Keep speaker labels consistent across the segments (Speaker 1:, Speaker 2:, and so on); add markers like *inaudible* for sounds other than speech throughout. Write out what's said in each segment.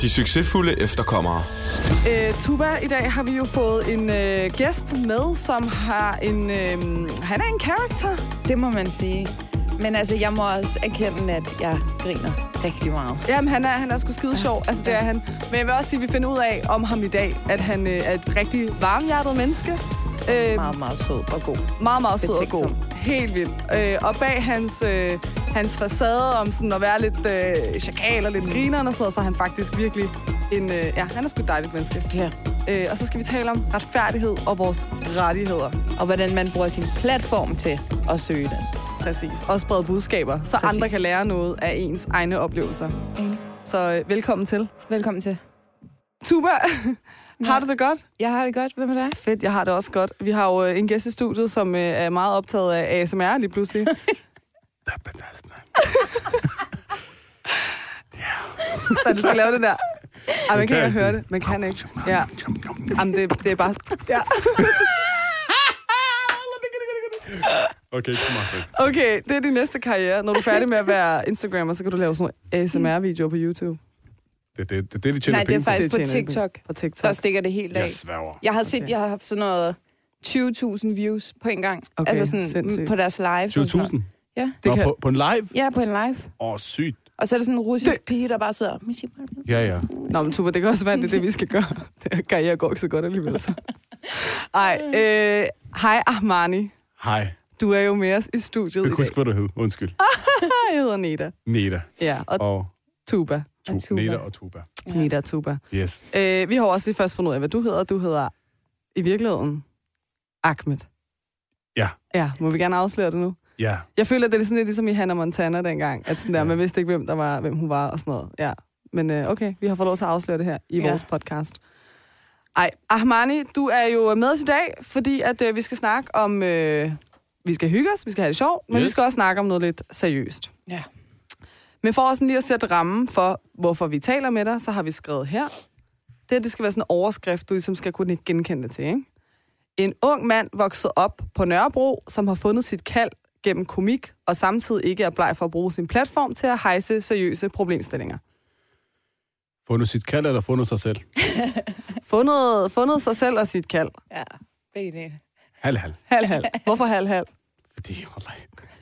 Speaker 1: De succesfulde efterkommere.
Speaker 2: Øh, Tuba, i dag har vi jo fået en øh, gæst med, som har en... Øh, han er en karakter.
Speaker 3: Det må man sige. Men altså, jeg må også erkende, at jeg griner rigtig meget.
Speaker 2: Jamen, han er, han er sgu skide sjov. Altså, det er han. Men jeg vil også sige, at vi finder ud af om ham i dag, at han øh, er et rigtig varmhjertet menneske. Øh,
Speaker 3: Meget, meget sød og god.
Speaker 2: meget, meget sød og god.
Speaker 3: Betænksom.
Speaker 2: Helt vildt. Øh, og bag hans, øh, hans facade om sådan at være lidt øh, chakal og lidt grineren og sådan noget, så er han faktisk virkelig en... Øh, ja, han er sgu et dejligt menneske.
Speaker 3: Ja.
Speaker 2: Øh, og så skal vi tale om retfærdighed og vores rettigheder.
Speaker 3: Og hvordan man bruger sin platform til at søge den.
Speaker 2: Præcis. Og sprede budskaber, så Præcis.
Speaker 3: Præcis.
Speaker 2: andre kan lære noget af ens egne oplevelser.
Speaker 3: Enig.
Speaker 2: Så øh, velkommen til.
Speaker 3: Velkommen til.
Speaker 2: Tuba, *laughs* har
Speaker 3: Ja.
Speaker 2: du det godt?
Speaker 3: Jeg har det godt. Hvad med dig?
Speaker 2: Fedt, jeg har det også godt. Vi har jo øh, en gæst i studiet, som øh, er meget optaget af ASMR lige pludselig. *laughs* Så du skal lave det der. Ej, man kan ikke høre det. Man kan ikke. Ja. Jamen, det, det er bare... Ja.
Speaker 4: Okay, ikke så meget fedt.
Speaker 2: *laughs* Okay, det er din næste karriere. Når du er færdig med at være Instagrammer, så kan du lave sådan nogle ASMR-videoer på YouTube
Speaker 4: Det, det, det, det, de tjener
Speaker 3: Nej, det er
Speaker 4: penge
Speaker 3: faktisk
Speaker 2: Det
Speaker 3: på
Speaker 2: tjener ikke
Speaker 3: TikTok.
Speaker 2: og
Speaker 3: Der
Speaker 2: TikTok.
Speaker 3: stikker det helt
Speaker 4: på.
Speaker 3: af.
Speaker 4: Jeg sværger.
Speaker 3: Jeg har set,
Speaker 2: Okay.
Speaker 3: jeg har haft sådan noget 20.000 views på en gang.
Speaker 2: Okay,
Speaker 3: altså sådan
Speaker 2: sindssygt.
Speaker 3: på deres live.
Speaker 4: 20.000?
Speaker 3: Ja.
Speaker 2: Det
Speaker 4: Nå,
Speaker 2: kan-
Speaker 4: på, på en live?
Speaker 3: Ja, på en live.
Speaker 4: Åh, oh, sygt.
Speaker 3: Og så er der sådan en russisk det... pige, der bare sidder... "Missy Marple."
Speaker 4: Ja, ja.
Speaker 2: Nå, men Tuba, det kan også være, det er det, vi skal gøre. *laughs* Karriere går ikke så godt alligevel, så. Ej, øh, hej Armani.
Speaker 4: Hej.
Speaker 2: Du er jo med os i studiet
Speaker 4: Jeg
Speaker 2: i
Speaker 4: kan
Speaker 2: dag. *laughs*
Speaker 4: ikke huske, hvad du hed. Undskyld.
Speaker 2: Jeg hedder Neda.
Speaker 4: Neda.
Speaker 2: Ja, og
Speaker 4: Og,
Speaker 2: Tuba.
Speaker 4: tu-
Speaker 3: Og Tuba.
Speaker 4: Neda og Tuba.
Speaker 3: Ja.
Speaker 2: Neda og Tuba.
Speaker 4: Yes.
Speaker 2: Øh, vi har jo også lige først fundet ud af, hvad du hedder. Du hedder i virkeligheden Ahmed.
Speaker 4: Ja.
Speaker 2: Ja, må vi gerne afsløre det nu?
Speaker 4: Ja.
Speaker 2: Jeg føler, at det er sådan lidt ligesom i Hannah Montana dengang, at sådan der,
Speaker 4: Ja.
Speaker 2: man vidste ikke, hvem, der var, hvem hun var og sådan noget. Ja. Men øh, okay, vi har fået lov til at afsløre det her i
Speaker 3: Ja.
Speaker 2: vores podcast. Ej, Ahmani, du er jo med os i dag, fordi at øh, vi skal snakke om... Øh, vi skal hygge os, vi skal have det sjovt, men yes. vi
Speaker 4: Yes.
Speaker 2: skal også snakke om noget lidt seriøst.
Speaker 3: Ja.
Speaker 2: Men for også sådan lige at sætte rammen for, hvorfor vi taler med dig, så har vi skrevet her. Det, her, det skal være sådan en overskrift, du ligesom skal kunne genkende det til, ikke? En ung mand voksede op på Nørrebro, som har fundet sit kald gennem komik, og samtidig ikke er bleg for at bruge sin platform til at hejse seriøse problemstillinger.
Speaker 4: Fundet sit kald eller fundet sig selv?
Speaker 2: Fundet, fundet sig selv og sit kald.
Speaker 3: Ja, begge dele.
Speaker 4: Halv, halv.
Speaker 2: Halv, halv. Hvorfor halv, halv?
Speaker 4: Fordi, hold da.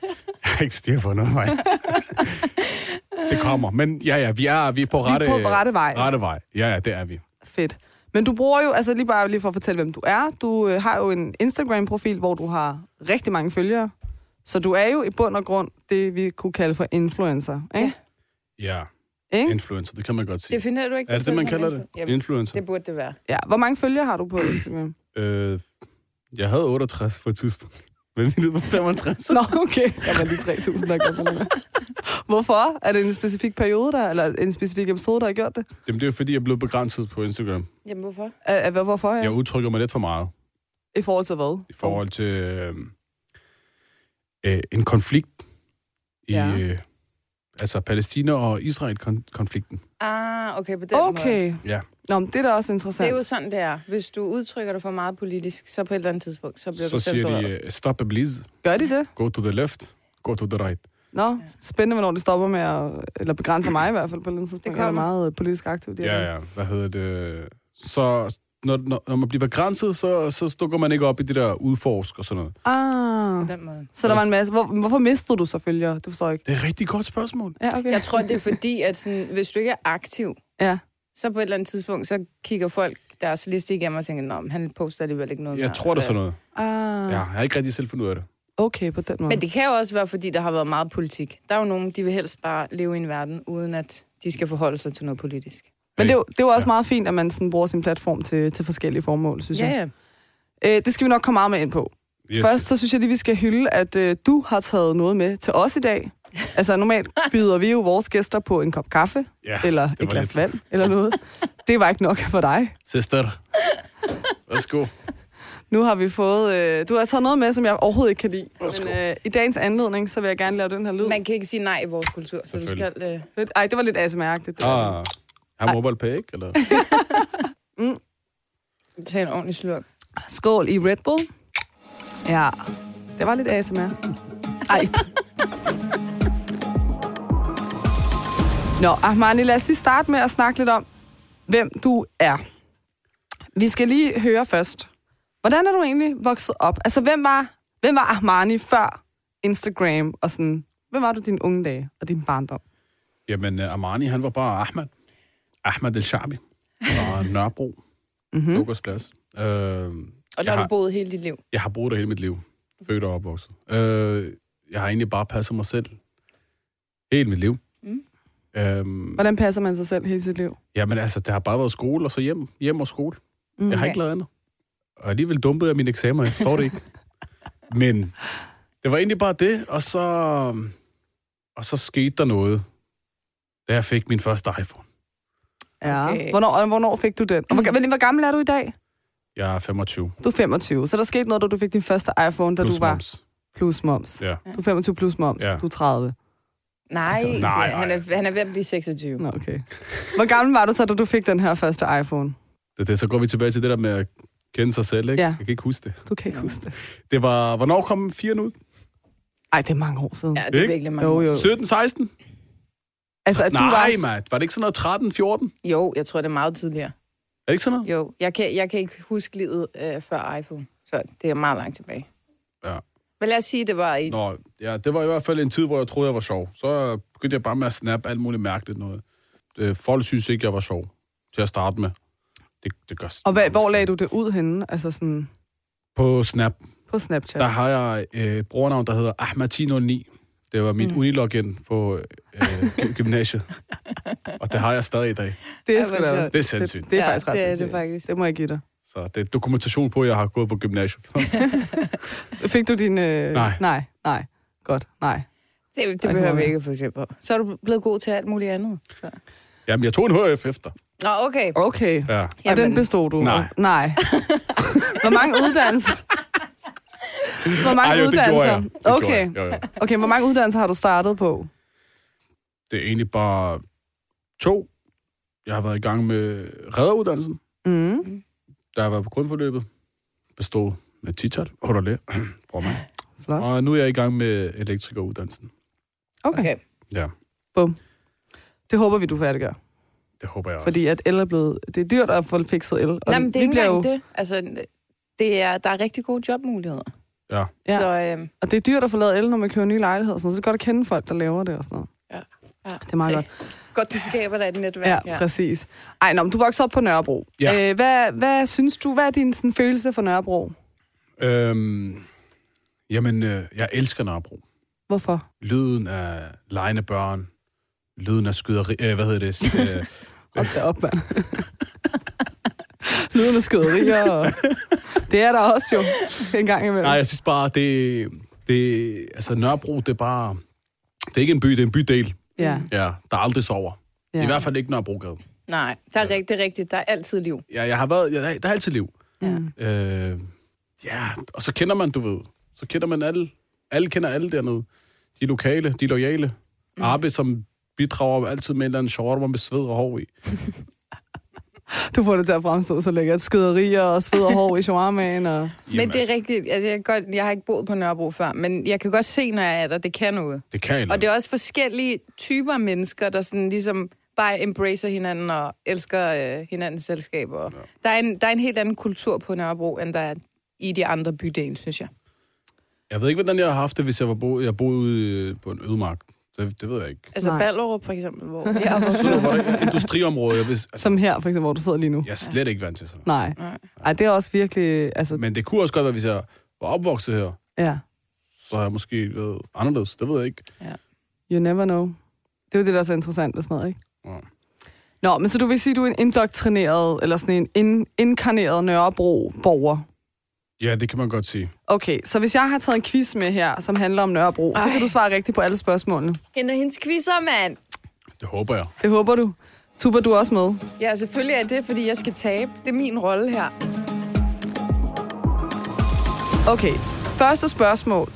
Speaker 4: Jeg har ikke styr på noget, mig. det kommer. Men ja, ja, vi er, vi er på rette,
Speaker 2: Rette, på rette vej.
Speaker 4: rette vej. Ja, ja, det er vi.
Speaker 2: Fedt. Men du bruger jo, altså lige bare lige for at fortælle, hvem du er. Du øh, har jo en Instagram-profil, hvor du har rigtig mange følgere. Så du er jo i bund og grund det, vi kunne kalde for influencer. Ikke?
Speaker 4: Ja,
Speaker 2: Ja. Ikke?
Speaker 4: influencer, det kan man godt sige.
Speaker 3: Definerer du ikke
Speaker 4: Er det det,
Speaker 3: selv
Speaker 4: man
Speaker 3: som
Speaker 4: kalder det?
Speaker 3: influencer? Jamen,
Speaker 4: Influencer.
Speaker 3: det burde det være.
Speaker 2: ja. Hvor mange følgere har du på *laughs* Instagram?
Speaker 4: Øh, jeg havde 68 på et tidspunkt. Men vi er nede på 65.
Speaker 2: Nå, okay. Jeg var lige 3.000, der kom med. *laughs* Hvorfor? Er det en specifik periode, der, eller en specifik episode, der har gjort det?
Speaker 4: Jamen, det er jo fordi, jeg blev begrænset på Instagram.
Speaker 3: Jamen, hvorfor?
Speaker 2: Er, er, hvorfor? Ja?
Speaker 4: Jeg udtrykker mig lidt for meget
Speaker 2: I forhold til hvad?
Speaker 4: i forhold til øh, øh, en konflikt i...
Speaker 2: Ja.
Speaker 4: Ja. Øh, altså Palæstina og Israel-konflikten.
Speaker 3: Ah, okay, på den måde.
Speaker 2: Okay.
Speaker 4: Ja.
Speaker 2: Nå, men det er da også
Speaker 3: Det
Speaker 2: interessant.
Speaker 3: er jo sådan, det er. Hvis du udtrykker dig for meget politisk, så på et eller andet tidspunkt, så bliver
Speaker 4: Så
Speaker 3: du
Speaker 4: siger
Speaker 3: censureret.
Speaker 4: de, øh, stop please,
Speaker 2: Gør de det?
Speaker 4: go to the left, go to the right.
Speaker 2: Nå, spændende, hvornår det stopper med at... Eller begrænser mig i hvert fald på et eller andet tidspunkt. Jeg er
Speaker 3: kommer.
Speaker 2: meget øh, politisk aktiv. de her dage.
Speaker 4: Ja, ja, hvad hedder det? Så når, når, når man bliver begrænset, så, så dukker man ikke op i det der udforsk og sådan noget.
Speaker 2: Ah,
Speaker 3: På den måde.
Speaker 2: så der var en masse. Hvor, hvorfor mistede du så følgere? Det forstår jeg ikke.
Speaker 4: Det er et rigtig godt spørgsmål.
Speaker 2: Ja, okay.
Speaker 3: Jeg tror, det er fordi, at sådan, hvis du ikke er aktiv,
Speaker 2: Ja.
Speaker 3: så på et eller andet tidspunkt, så kigger folk deres liste igennem og tænker, Nå, men han poster alligevel ikke noget
Speaker 4: Jeg
Speaker 3: mere."
Speaker 4: tror, der er sådan noget.
Speaker 2: Ah,
Speaker 4: Ja, jeg har ikke rigtig selv fundet ud af det.
Speaker 2: okay, på den måde.
Speaker 3: Men det kan jo også være, fordi der har været meget politik. Der er jo nogen, de vil helst bare leve i en verden, uden at de skal forholde sig til noget politisk.
Speaker 2: Men det, er jo- det er jo også
Speaker 4: Ja.
Speaker 2: meget fint, at man sådan bruger sin platform til, til forskellige formål, synes jeg.
Speaker 3: ja.
Speaker 2: Øh, det skal vi nok komme meget med ind på. Yes. Først så synes jeg lige, vi skal hylde, at øh, du har taget noget med til os i
Speaker 3: *laughs*
Speaker 2: dag. Altså normalt byder vi jo vores gæster på en kop kaffe,
Speaker 4: Ja,
Speaker 2: eller
Speaker 4: det
Speaker 2: et
Speaker 4: var
Speaker 2: glas
Speaker 4: lidt-
Speaker 2: vand, eller noget. Det var ikke nok for dig.
Speaker 4: Sister. Værsgo.
Speaker 2: Nu har vi fået... Øh, du har taget noget med, som jeg overhovedet ikke kan lide.
Speaker 4: Værsgo.
Speaker 2: Men øh, i dagens anledning, så vil jeg gerne lave den her lyd.
Speaker 3: Man kan ikke sige nej i vores kultur, så du
Speaker 4: Selvfølgelig.
Speaker 3: skal... Øh...
Speaker 2: Lidt- Ej, det var lidt asmærkeligt.
Speaker 4: Ah, har mobile pay, ikke? Eller?
Speaker 3: Tag øh, en ordentlig slurk.
Speaker 2: Skål i Red Bull. Ja. Det var lidt ASMR. Ej. Nå, Armani, lad os lige starte med at snakke lidt om, hvem du er. Vi skal lige høre først. Hvordan er du egentlig vokset op? Altså, hvem var, hvem var Armani før Instagram og sådan... Hvem var du dine unge dage og din barndom?
Speaker 4: Jamen, øh, Armani, han var bare Ahmad. Ahmad El Shabi fra Nørrebro. Mm-hmm.
Speaker 2: Hmm?
Speaker 4: Lukas øh,
Speaker 3: Og der
Speaker 4: Jeg
Speaker 3: har
Speaker 4: har-
Speaker 3: du boet hele dit liv.
Speaker 4: Jeg har boet der hele mit liv. Født og opvokset. Øh, jeg har egentlig bare passet mig selv. Hele mit liv.
Speaker 2: Hmm?
Speaker 3: Mm.
Speaker 4: Øhm,
Speaker 2: Hvordan passer man sig selv hele sit liv?
Speaker 4: jamen altså, det har bare været skole og så hjem. Hjem og skole.
Speaker 2: Mm.
Speaker 4: Jeg har ikke lavet andet. Og alligevel dumpede jeg mine eksamener, jeg forstår det
Speaker 2: *laughs*
Speaker 4: ikke. Men det var egentlig bare det, og så, og så skete der noget, da jeg fik min første iPhone.
Speaker 2: Ja.
Speaker 3: Okay.
Speaker 2: Hvornår, og hvornår fik du den? Og hvor, hvor gammel er du i dag?
Speaker 4: Jeg er 25.
Speaker 2: Du er 25, så der skete noget, da du fik din første iPhone, da
Speaker 4: plus
Speaker 2: du var
Speaker 4: moms.
Speaker 2: plus moms.
Speaker 4: Ja.
Speaker 2: Du er 25 plus moms,
Speaker 4: Ja.
Speaker 2: du er 30.
Speaker 4: Nej,
Speaker 3: Nej, siger jeg.
Speaker 4: nej.
Speaker 3: han, er, han er ved at blive 26.
Speaker 2: Nå, okay. Hvor gammel var du så, da du fik den her første iPhone?
Speaker 4: Det, det, så går vi tilbage til det der med at kende sig selv, ikke?
Speaker 2: Ja.
Speaker 4: Jeg kan ikke huske det.
Speaker 2: Du kan
Speaker 3: Mm.
Speaker 2: ikke huske det.
Speaker 4: Det var, hvornår kom 4'en ud?
Speaker 2: Ej, det er mange år siden.
Speaker 3: Ja, det er
Speaker 4: Ikke?
Speaker 3: virkelig mange.
Speaker 2: Jo,
Speaker 3: år.
Speaker 2: jo.
Speaker 4: 17, 16?
Speaker 2: Altså, at Øh. du
Speaker 4: Nej,
Speaker 2: var...
Speaker 4: mand. Var det ikke sådan noget 13, 14?
Speaker 3: jo, jeg tror, det er meget tidligere.
Speaker 4: Er det ikke sådan noget?
Speaker 3: Jo, jeg kan, jeg kan ikke huske livet øh, før iPhone, så det er meget langt tilbage.
Speaker 4: Ja.
Speaker 3: Men lad os sige, det var i...
Speaker 4: Nå, ja, det var i hvert fald en tid, hvor jeg troede, jeg var sjov. Så øh, begyndte jeg bare med at snappe alt muligt mærkeligt noget. Øh, Folk synes ikke, jeg var sjov til at starte med. Det, det gør
Speaker 2: Og hvad, hvor lagde du det ud henne? Altså sådan
Speaker 4: På Snap,
Speaker 2: på Snapchat?
Speaker 4: der har jeg øh, et brugernavn, der hedder Ahmad1009. Det var mit mm. unilogin på øh, gy- gymnasiet. Og det har jeg stadig i dag.
Speaker 2: Det
Speaker 3: Ja,
Speaker 2: er sgu
Speaker 3: hvor
Speaker 2: da-
Speaker 3: sjovt.
Speaker 4: Det er sindssygt.
Speaker 2: Det, det er
Speaker 3: Ja,
Speaker 2: faktisk ret
Speaker 3: det er det
Speaker 2: sindssygt.
Speaker 3: faktisk.
Speaker 2: Det må jeg give dig.
Speaker 4: Så det er dokumentation på, at jeg har gået på
Speaker 2: *laughs*
Speaker 4: gymnasiet.
Speaker 2: Fik du din... Øh...
Speaker 4: Nej.
Speaker 2: Nej, nej. Godt, nej.
Speaker 3: Det,
Speaker 2: Ej,
Speaker 3: det
Speaker 2: det
Speaker 3: behøver
Speaker 2: var
Speaker 3: vi
Speaker 2: det.
Speaker 3: ikke, for eksempel. Så er du blevet god til alt muligt andet. Så.
Speaker 4: Jamen, jeg tog en HF efter.
Speaker 3: Nå, okay.
Speaker 2: Okay.
Speaker 4: Ja.
Speaker 2: Og den
Speaker 3: Jamen.
Speaker 2: bestod du?
Speaker 4: Nej.
Speaker 3: *laughs*
Speaker 2: Nej. Hvor mange uddannelser? Hvor mange
Speaker 4: Ej, jo, det gjorde
Speaker 2: uddannelser?
Speaker 4: jeg. Det gjorde
Speaker 2: okay.
Speaker 4: jeg. Jo, jo.
Speaker 2: okay, hvor mange uddannelser har du startet på?
Speaker 4: Det er egentlig bare to. Jeg har været i gang med redderuddannelsen.
Speaker 2: Mm.
Speaker 4: der var på grundforløbet, bestod med tital, holder det, *clears throat* bror mig.
Speaker 2: Flot.
Speaker 4: Og nu er jeg i gang med elektrikeruddannelsen.
Speaker 2: Okay. okay.
Speaker 3: Okay.
Speaker 4: Ja,
Speaker 2: Det håber vi, du færdiggør.
Speaker 4: det håber jeg
Speaker 2: Fordi
Speaker 4: også.
Speaker 2: at el er blevet... Det er dyrt at få fikset el. Og
Speaker 3: Nå, men det er
Speaker 2: vi
Speaker 3: ikke
Speaker 2: bliver
Speaker 3: engang
Speaker 2: jo,
Speaker 3: det. Altså, det er, der er rigtig gode jobmuligheder.
Speaker 4: Ja.
Speaker 2: Ja.
Speaker 3: Ja. Så øh,
Speaker 2: Og det er dyrt at få lavet el, når man køber nye lejligheder. og Sådan, noget. så er det godt at kende folk, der laver det og sådan noget.
Speaker 3: ja.
Speaker 2: Det er meget godt.
Speaker 3: Godt, du skaber dig et
Speaker 2: Ja,
Speaker 3: netværk.
Speaker 2: ja, præcis. Ej, nå, men du voksede op på Nørrebro.
Speaker 4: Ja.
Speaker 2: Øh, hvad, hvad synes du, hvad er din sådan, følelse for Nørrebro?
Speaker 4: Øhm, jamen, øh, jeg elsker Nørrebro.
Speaker 2: Hvorfor?
Speaker 4: Lyden af lejende børn, lyden af skyderi, øh, hvad hedder det?
Speaker 2: *laughs*
Speaker 4: Øh,
Speaker 2: Hold da op, mand. *laughs* Lyden af skyderier. Og... Det er der også jo en gang imellem.
Speaker 4: nej, jeg synes bare, det, det, altså Nørrebro, det er bare, det er ikke en by, det er en bydel.
Speaker 2: Ja,
Speaker 3: Mm.
Speaker 4: Ja, der aldrig sover.
Speaker 2: ja.
Speaker 4: Ja. I hvert fald ikke Nørrebrogade.
Speaker 3: Nej, der er rigtig, rigtig. Der er altid liv.
Speaker 4: Ja, jeg har været, jeg, der er altid liv.
Speaker 2: Ja.
Speaker 4: Øh, ja, og så kender man, du ved, så kender man alle. Alle kender alle dernede. De lokale, de lojale.
Speaker 3: Mhm.
Speaker 4: Mm. Arbe, som bidrager altid med en eller anden shawarma med sved og hår i.
Speaker 2: Du får det til at fremstå så lækkert. Skyderier og sved og hår i shawarmaen. Og...
Speaker 3: Jamen, men det er rigtigt. Altså, jeg, kan godt, jeg har ikke boet på Nørrebro før, men jeg kan godt se, når jeg er der, det kan noget.
Speaker 4: det kan jeg
Speaker 3: Og det er også forskellige typer af mennesker, der sådan ligesom bare embracer hinanden og elsker øh, hinandens selskab. Og ja. der, er en, der er en helt anden kultur på Nørrebro, end der er i de andre bydele, synes jeg.
Speaker 4: Jeg ved ikke, hvordan jeg har haft det, hvis jeg, var bo, jeg boede ude på en ødemark. Det, det ved jeg ikke.
Speaker 3: Altså
Speaker 2: Nej.
Speaker 3: Nej. Ballerup for eksempel, *laughs* hvor jeg er
Speaker 4: Så
Speaker 3: vokset.
Speaker 4: var der industriområde. Jeg,
Speaker 3: *laughs*
Speaker 4: vidste, altså,
Speaker 2: Som her, for eksempel, hvor du sidder lige nu.
Speaker 4: jeg er slet ikke vant til sådan noget.
Speaker 2: Nej.
Speaker 3: Nej.
Speaker 2: Ej, det er også virkelig... Altså,
Speaker 4: Men det kunne også godt være, hvis jeg var opvokset her,
Speaker 2: ja.
Speaker 4: så har jeg måske været anderledes. Det ved jeg ikke.
Speaker 2: You never know. Det er jo det, der er så interessant og sådan noget, ikke?
Speaker 4: Ja.
Speaker 2: Nå, men så du vil sige, at du er en indoktrineret, eller sådan en in- inkarneret Nørrebro-borger.
Speaker 4: Ja, det kan man godt sige.
Speaker 2: Okay, så hvis jeg har taget en quiz med her, som handler om Nørrebro, Ej. så
Speaker 3: Ej.
Speaker 2: kan du svare rigtigt på alle spørgsmålene.
Speaker 3: Hende og hendes quizzer, mand!
Speaker 4: Det håber jeg.
Speaker 2: Det håber du. Tuber du er også med?
Speaker 3: Ja, selvfølgelig er det, fordi jeg skal tabe. Det er min rolle her.
Speaker 2: Okay, første spørgsmål,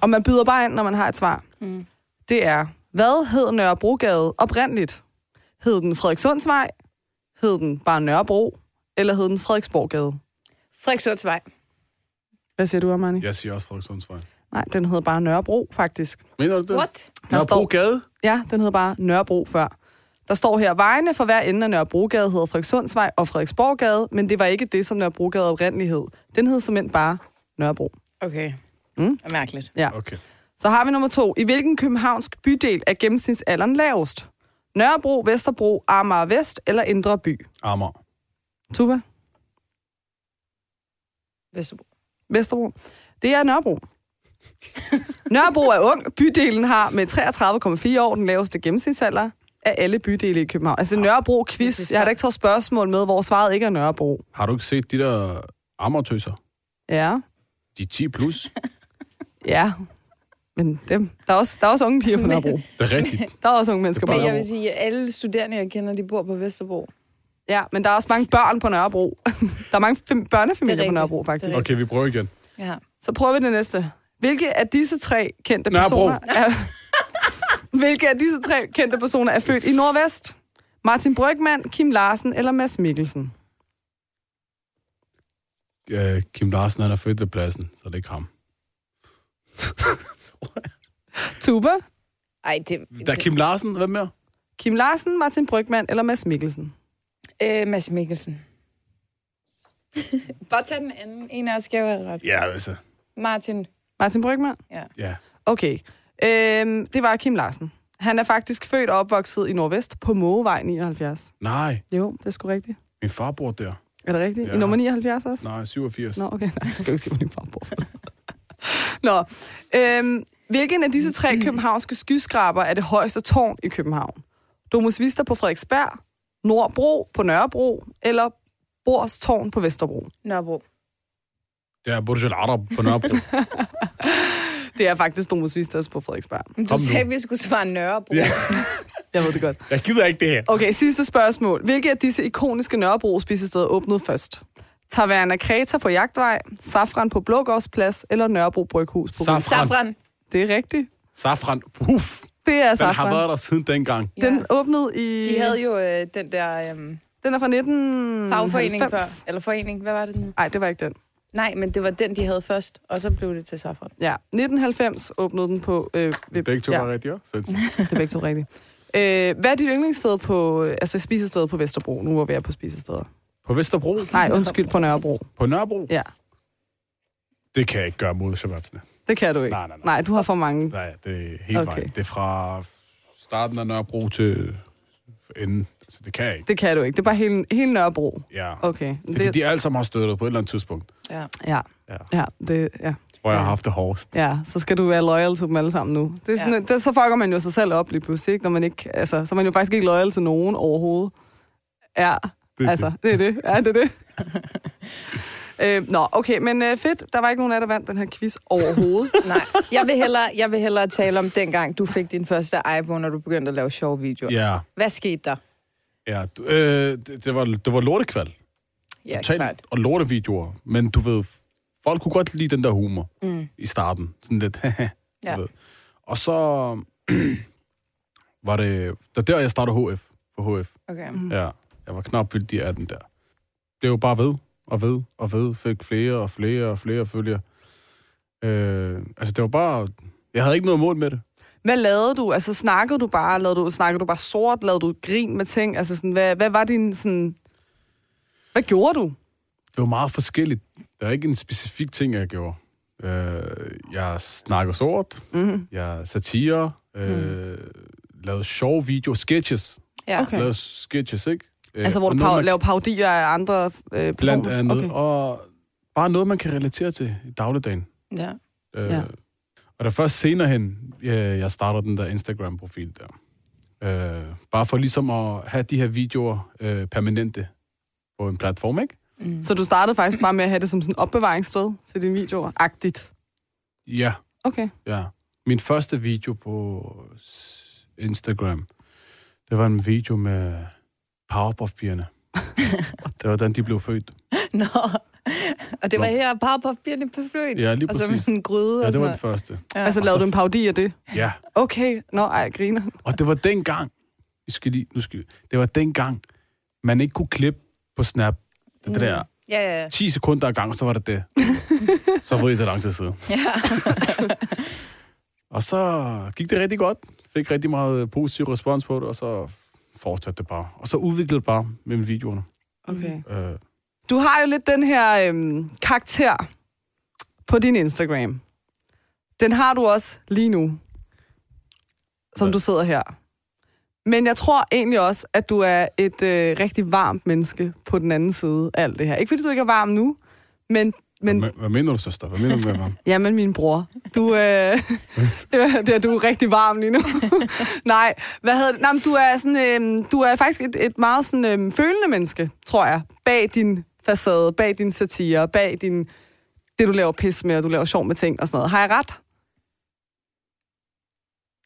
Speaker 2: og man byder bare ind, når man har et svar. Mm. Det er, hvad hed Nørrebrogade oprindeligt? Hed den Frederikssundsvej? Hed den bare Nørrebro? Eller hed den Frederiksborggade?
Speaker 3: Frederiksundsvej.
Speaker 2: Hvad siger du, Armani? Ja.
Speaker 4: Jeg siger også Frederikssundsvej.
Speaker 2: Nej, den hedder bare Nørrebro, faktisk.
Speaker 4: Mener du det?
Speaker 3: What?
Speaker 2: Der
Speaker 4: Nørrebro
Speaker 2: står-
Speaker 4: Gade?
Speaker 2: Ja, den hedder bare Nørrebro før. Der står her, vejene for hver ende af Nørrebrogade hedder Frederikssundsvej og Frederiksborggade, men det var ikke det, som Nørrebrogade oprindeligt hed. Den hed simpelthen bare Nørrebro.
Speaker 3: Okay.
Speaker 2: Mm.
Speaker 3: Det er mærkeligt.
Speaker 4: Okay.
Speaker 2: Så har vi nummer to. I hvilken københavnsk bydel er gennemsnitsalderen lavest? Nørrebro, Vesterbro, Amager Vest eller Indre By?
Speaker 4: Amager.
Speaker 2: Tuva?
Speaker 3: Vesterbro.
Speaker 2: Vesterbro. Det er
Speaker 3: *laughs*
Speaker 2: Nørrebro. Nørrebro er ung. Bydelen har med 33,4 år den laveste gennemsnitsalder af alle bydele i København. Altså Nørrebro quiz. Jeg har da ikke taget spørgsmål med, hvor svaret ikke er Nørrebro.
Speaker 4: Har du ikke set de der amartøser?
Speaker 2: Ja.
Speaker 4: De er 10 plus.
Speaker 2: Ja. Men dem. Der, er også, der er også unge piger på
Speaker 3: Men-
Speaker 2: Nørrebro.
Speaker 4: Det er
Speaker 2: *laughs*
Speaker 4: rigtigt.
Speaker 2: Der er også unge mennesker på
Speaker 3: Men jeg
Speaker 2: Nørrebro.
Speaker 3: vil sige, at alle studerende, jeg kender, de bor på Vesterbro.
Speaker 2: Ja, men der er også mange børn på Nørrebro. *laughs* der er mange fem- børnefamilier på
Speaker 3: rigtigt.
Speaker 2: Nørrebro,
Speaker 3: Det
Speaker 2: faktisk.
Speaker 3: er
Speaker 4: Okay, vi prøver igen.
Speaker 3: Ja.
Speaker 2: Så prøver vi det næste. Hvilke af disse tre kendte
Speaker 4: Nørrebro.
Speaker 2: personer er, *laughs* Hvilke af disse tre kendte personer er født i Nordvest? Martin Brygman, Kim Larsen eller Mads Mikkelsen?
Speaker 4: Øh, Kim Larsen, han er født ved pladsen, så det er ikke ham.
Speaker 2: Tuba,
Speaker 3: Ej, det...
Speaker 4: Der er Kim Larsen, hvad mere?
Speaker 2: Kim Larsen, Martin Brygman eller Mads Mikkelsen?
Speaker 3: Øh, Mads Mikkelsen. *laughs* Bare tag den anden. En af os skal jo have ret.
Speaker 4: Ja, altså.
Speaker 3: Martin.
Speaker 2: Martin Brygman?
Speaker 4: Ja.
Speaker 2: Okay. Øhm, det var Kim Larsen. Han er faktisk født og opvokset i Nordvest på Mågevej 79.
Speaker 4: Nej,
Speaker 2: Jo, det er sgu rigtigt.
Speaker 4: min far bor der.
Speaker 2: Er det rigtigt? Ja.
Speaker 4: Ja.
Speaker 2: I nummer 79 også?
Speaker 4: Nej, 87.
Speaker 2: Nå, okay. Nej, du skal jo ikke sige, hvor din far bor. Nå, øhm, hvilken af disse tre københavnske skyskraber er det højeste tårn i København? Domus Vista på Frederiksberg, Nordbro på Nørrebro eller Bors Tårn på Vesterbro?
Speaker 3: Nørrebro.
Speaker 4: Det er Burj Al Arab på
Speaker 2: *laughs*
Speaker 4: Nørrebro.
Speaker 2: Det er faktisk Domus Vistas på Frederiksberg.
Speaker 3: Men
Speaker 4: Kom
Speaker 3: Du
Speaker 4: nu.
Speaker 3: sagde, at vi skulle svare Nørrebro.
Speaker 4: Ja.
Speaker 3: Ja.
Speaker 2: Jeg ved det godt.
Speaker 4: Jeg gider ikke det her.
Speaker 2: Okay, sidste spørgsmål. Hvilke af disse ikoniske Nørrebro spisesteder åbnede først? Taverna Kreta på Jagtvej, Safran på Blågårdsplads eller Nørrebro Bryghus på
Speaker 4: Safran.
Speaker 3: Safran.
Speaker 2: Det er rigtigt.
Speaker 4: Safran, uff,
Speaker 2: Det er
Speaker 4: den har
Speaker 2: Safran.
Speaker 4: været der siden dengang.
Speaker 3: Ja.
Speaker 2: Den åbnede i...
Speaker 3: De havde jo øh, den der øh,
Speaker 2: Den er fra 19...
Speaker 3: fagforening før. Eller forening. Hvad var det den?
Speaker 2: Nej, det var ikke den.
Speaker 3: Nej, men det var den, de havde først. Og så blev det til Safran.
Speaker 2: Ja, 1990 åbnede den på... Øh, ved,
Speaker 4: Begge to
Speaker 2: ja,
Speaker 4: var rigtigt, ja. Sindssygt.
Speaker 2: det er begge to rigtigt. Øh, hvad er dit yndlingssted på... øh, Altså spisested på Vesterbro, nu hvor vi er på spisesteder.
Speaker 4: På Vesterbro?
Speaker 2: Nej, undskyld, på Nørrebro.
Speaker 4: På Nørrebro?
Speaker 2: Ja,
Speaker 4: Det kan jeg ikke gøre mod shababsene.
Speaker 2: det kan du ikke.
Speaker 4: Nej, nej, nej.
Speaker 2: nej du har for mange.
Speaker 4: Nej, det er helt okay.
Speaker 2: Okay.
Speaker 4: vejen. Det er fra starten af Nørrebro til enden. Så det kan jeg ikke.
Speaker 2: Det kan du ikke. Det er bare hele, hele Nørrebro.
Speaker 4: Ja. Okay.
Speaker 2: Okay.
Speaker 4: Fordi
Speaker 2: Det,
Speaker 4: de alle sammen har støttet på et eller andet tidspunkt,
Speaker 3: Ja.
Speaker 2: ja,
Speaker 4: Ja.
Speaker 2: ja, det, ja.
Speaker 4: hvor jeg har
Speaker 2: Ja.
Speaker 4: haft det hårdest.
Speaker 2: ja, så skal du være loyal til dem alle sammen nu. Det er sådan,
Speaker 3: Ja.
Speaker 2: ja. det, så fucker man jo sig selv op lige pludselig, ikke? Når man ikke, altså, så er man jo faktisk ikke loyal til nogen overhovedet. Ja,
Speaker 4: Det, er
Speaker 2: altså,
Speaker 4: det.
Speaker 2: det er det. Ja, det *laughs* er det. øh, nå, okay, men øh, fedt. Der var ikke nogen af, der vandt den her quiz *laughs* overhovedet.
Speaker 3: Nej. Jeg vil, hellere, jeg vil hellere tale om dengang, du fik din første iPhone, og du begyndte at lave sjove videoer. Ja.
Speaker 4: Ja,
Speaker 3: Hvad skete der?
Speaker 4: ja. Du- Øh, det, det, var, det var lortekval.
Speaker 3: Ja,
Speaker 4: Totalt
Speaker 3: klart.
Speaker 4: Og lortevideoer. Men du ved, folk kunne godt lide den der humor
Speaker 3: Mm.
Speaker 4: i starten. Sådan lidt, *laughs* haha, du
Speaker 3: Ja.
Speaker 4: ved. Og så *clears throat* var det, der der, jeg startede HF. På HF.
Speaker 3: Okay.
Speaker 2: Mm.
Speaker 4: Ja, jeg var knap vildt de 18 der. Blev bare ved og ved og ved. Fik flere og flere og flere følger. Øh, altså, det var bare... Jeg havde ikke noget mål med det.
Speaker 2: hvad lavede du? Altså, snakkede du bare? Lavede du, snakkede du bare sort? Lavede du grin med ting? Altså, sådan, hvad, hvad var din sådan... Hvad gjorde du?
Speaker 4: Det var meget forskelligt. Der er ikke en specifik ting, jeg gjorde. Øh, jeg snakker sort.
Speaker 2: Mm-hmm.
Speaker 4: Jeg er satire. Øh,
Speaker 2: Mm.
Speaker 4: Lavede sjove videoer. Sketches.
Speaker 3: Ja.
Speaker 2: Okay.
Speaker 4: Okay. Lavede sketches, ikke? Øh,
Speaker 2: Altså, hvor
Speaker 4: og
Speaker 2: du
Speaker 4: noget,
Speaker 2: pa-
Speaker 4: man-
Speaker 2: laver parodier af andre øh, personer?
Speaker 4: Blandt andet.
Speaker 2: Okay.
Speaker 4: Okay. Og bare noget, man kan relatere til i dagligdagen.
Speaker 3: ja.
Speaker 4: Øh,
Speaker 2: Ja.
Speaker 4: ja. Og der først senere hen, øh, jeg starter den der Instagram-profil der. Øh, bare for ligesom at have de her videoer øh, permanente på en platform, ikke?
Speaker 3: Mm.
Speaker 2: Så du startede faktisk bare med at have det som sådan opbevaringssted til dine videoer? Agtigt.
Speaker 4: Ja,
Speaker 2: Okay.
Speaker 4: ja. Min første video på s- Instagram, det var en video med
Speaker 3: *laughs*
Speaker 4: Powerpuff-pigerne. det var den, de blev født.
Speaker 3: *laughs* Nå. Og det var
Speaker 4: Nå.
Speaker 3: her Powerpuff-pigerne på fløjt.
Speaker 4: Ja, lige
Speaker 3: og så
Speaker 4: præcis.
Speaker 3: med Altså, sådan en gryde
Speaker 4: Ja,
Speaker 3: og
Speaker 4: det
Speaker 3: sådan
Speaker 4: var den
Speaker 3: noget.
Speaker 4: første.
Speaker 3: Ja.
Speaker 2: Altså,
Speaker 4: Og så-
Speaker 2: lavede du en parodi af det?
Speaker 4: Ja,
Speaker 2: Okay. Nå, ej, jeg griner.
Speaker 4: og det var dengang,
Speaker 3: Mm.
Speaker 4: vi skal lige, nu skal vi, det var dengang, man ikke kunne klippe på Snap, det, det der
Speaker 3: Ja, ja, ja.
Speaker 4: 10 sekunder af gang, så var det det. så var det så lang tid siden.
Speaker 3: ja.
Speaker 4: *laughs* Og så gik det rigtig godt. Fik rigtig meget øh, positiv respons på det, og så fortsatte det bare. Og så udviklede det bare med videoerne.
Speaker 3: Mm.
Speaker 2: Okay.
Speaker 4: Øh,
Speaker 2: Du har jo lidt den her øhm, karakter på din Instagram. Den har du også lige nu, som
Speaker 4: Ja.
Speaker 2: du sidder her. Men jeg tror egentlig også, at du er et øh, rigtig varmt menneske på den anden side af alt det her. Ikke fordi du ikke er varm nu, men, men
Speaker 4: hvad, hvad mener du, søster? Hvad mener du med ham?
Speaker 2: Ja, men min bror. Du, øh, *laughs* det, det, du er rigtig varm lige nu. *laughs* Nej, hvad hedder det? Nej, men du er, sådan, øh, du er faktisk et, et meget sådan, øh, følende menneske, tror jeg. Bag din facade, bag din satire, bag din, det, du laver pis med, og du laver sjov med ting og sådan noget. Har jeg ret?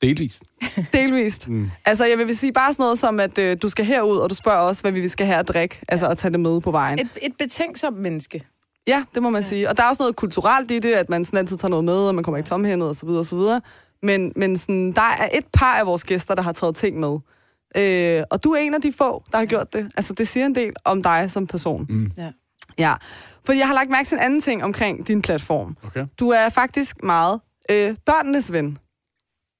Speaker 4: Delvist.
Speaker 2: Delvist.
Speaker 4: Mm.
Speaker 2: Altså, jeg vil sige bare sådan noget som, at øh, du skal herud, og du spørger også, hvad vi skal have at drikke. Altså, at tage det med på vejen.
Speaker 3: Et, et betænksomt menneske.
Speaker 2: Ja, det må man ja. sige. Og der er også noget kulturelt i det, at man sådan altid tager noget med, og man kommer ikke tomhændet osv. osv. Men, men sådan, der er et par af vores gæster, der har taget ting med. Øh, og du er en af de få, der har gjort det. Altså, det siger en del om dig som person.
Speaker 4: Mm.
Speaker 3: Ja.
Speaker 2: Ja. Fordi jeg har lagt mærke til en anden ting omkring din platform.
Speaker 4: Okay.
Speaker 2: Du er faktisk meget øh, børnenes ven.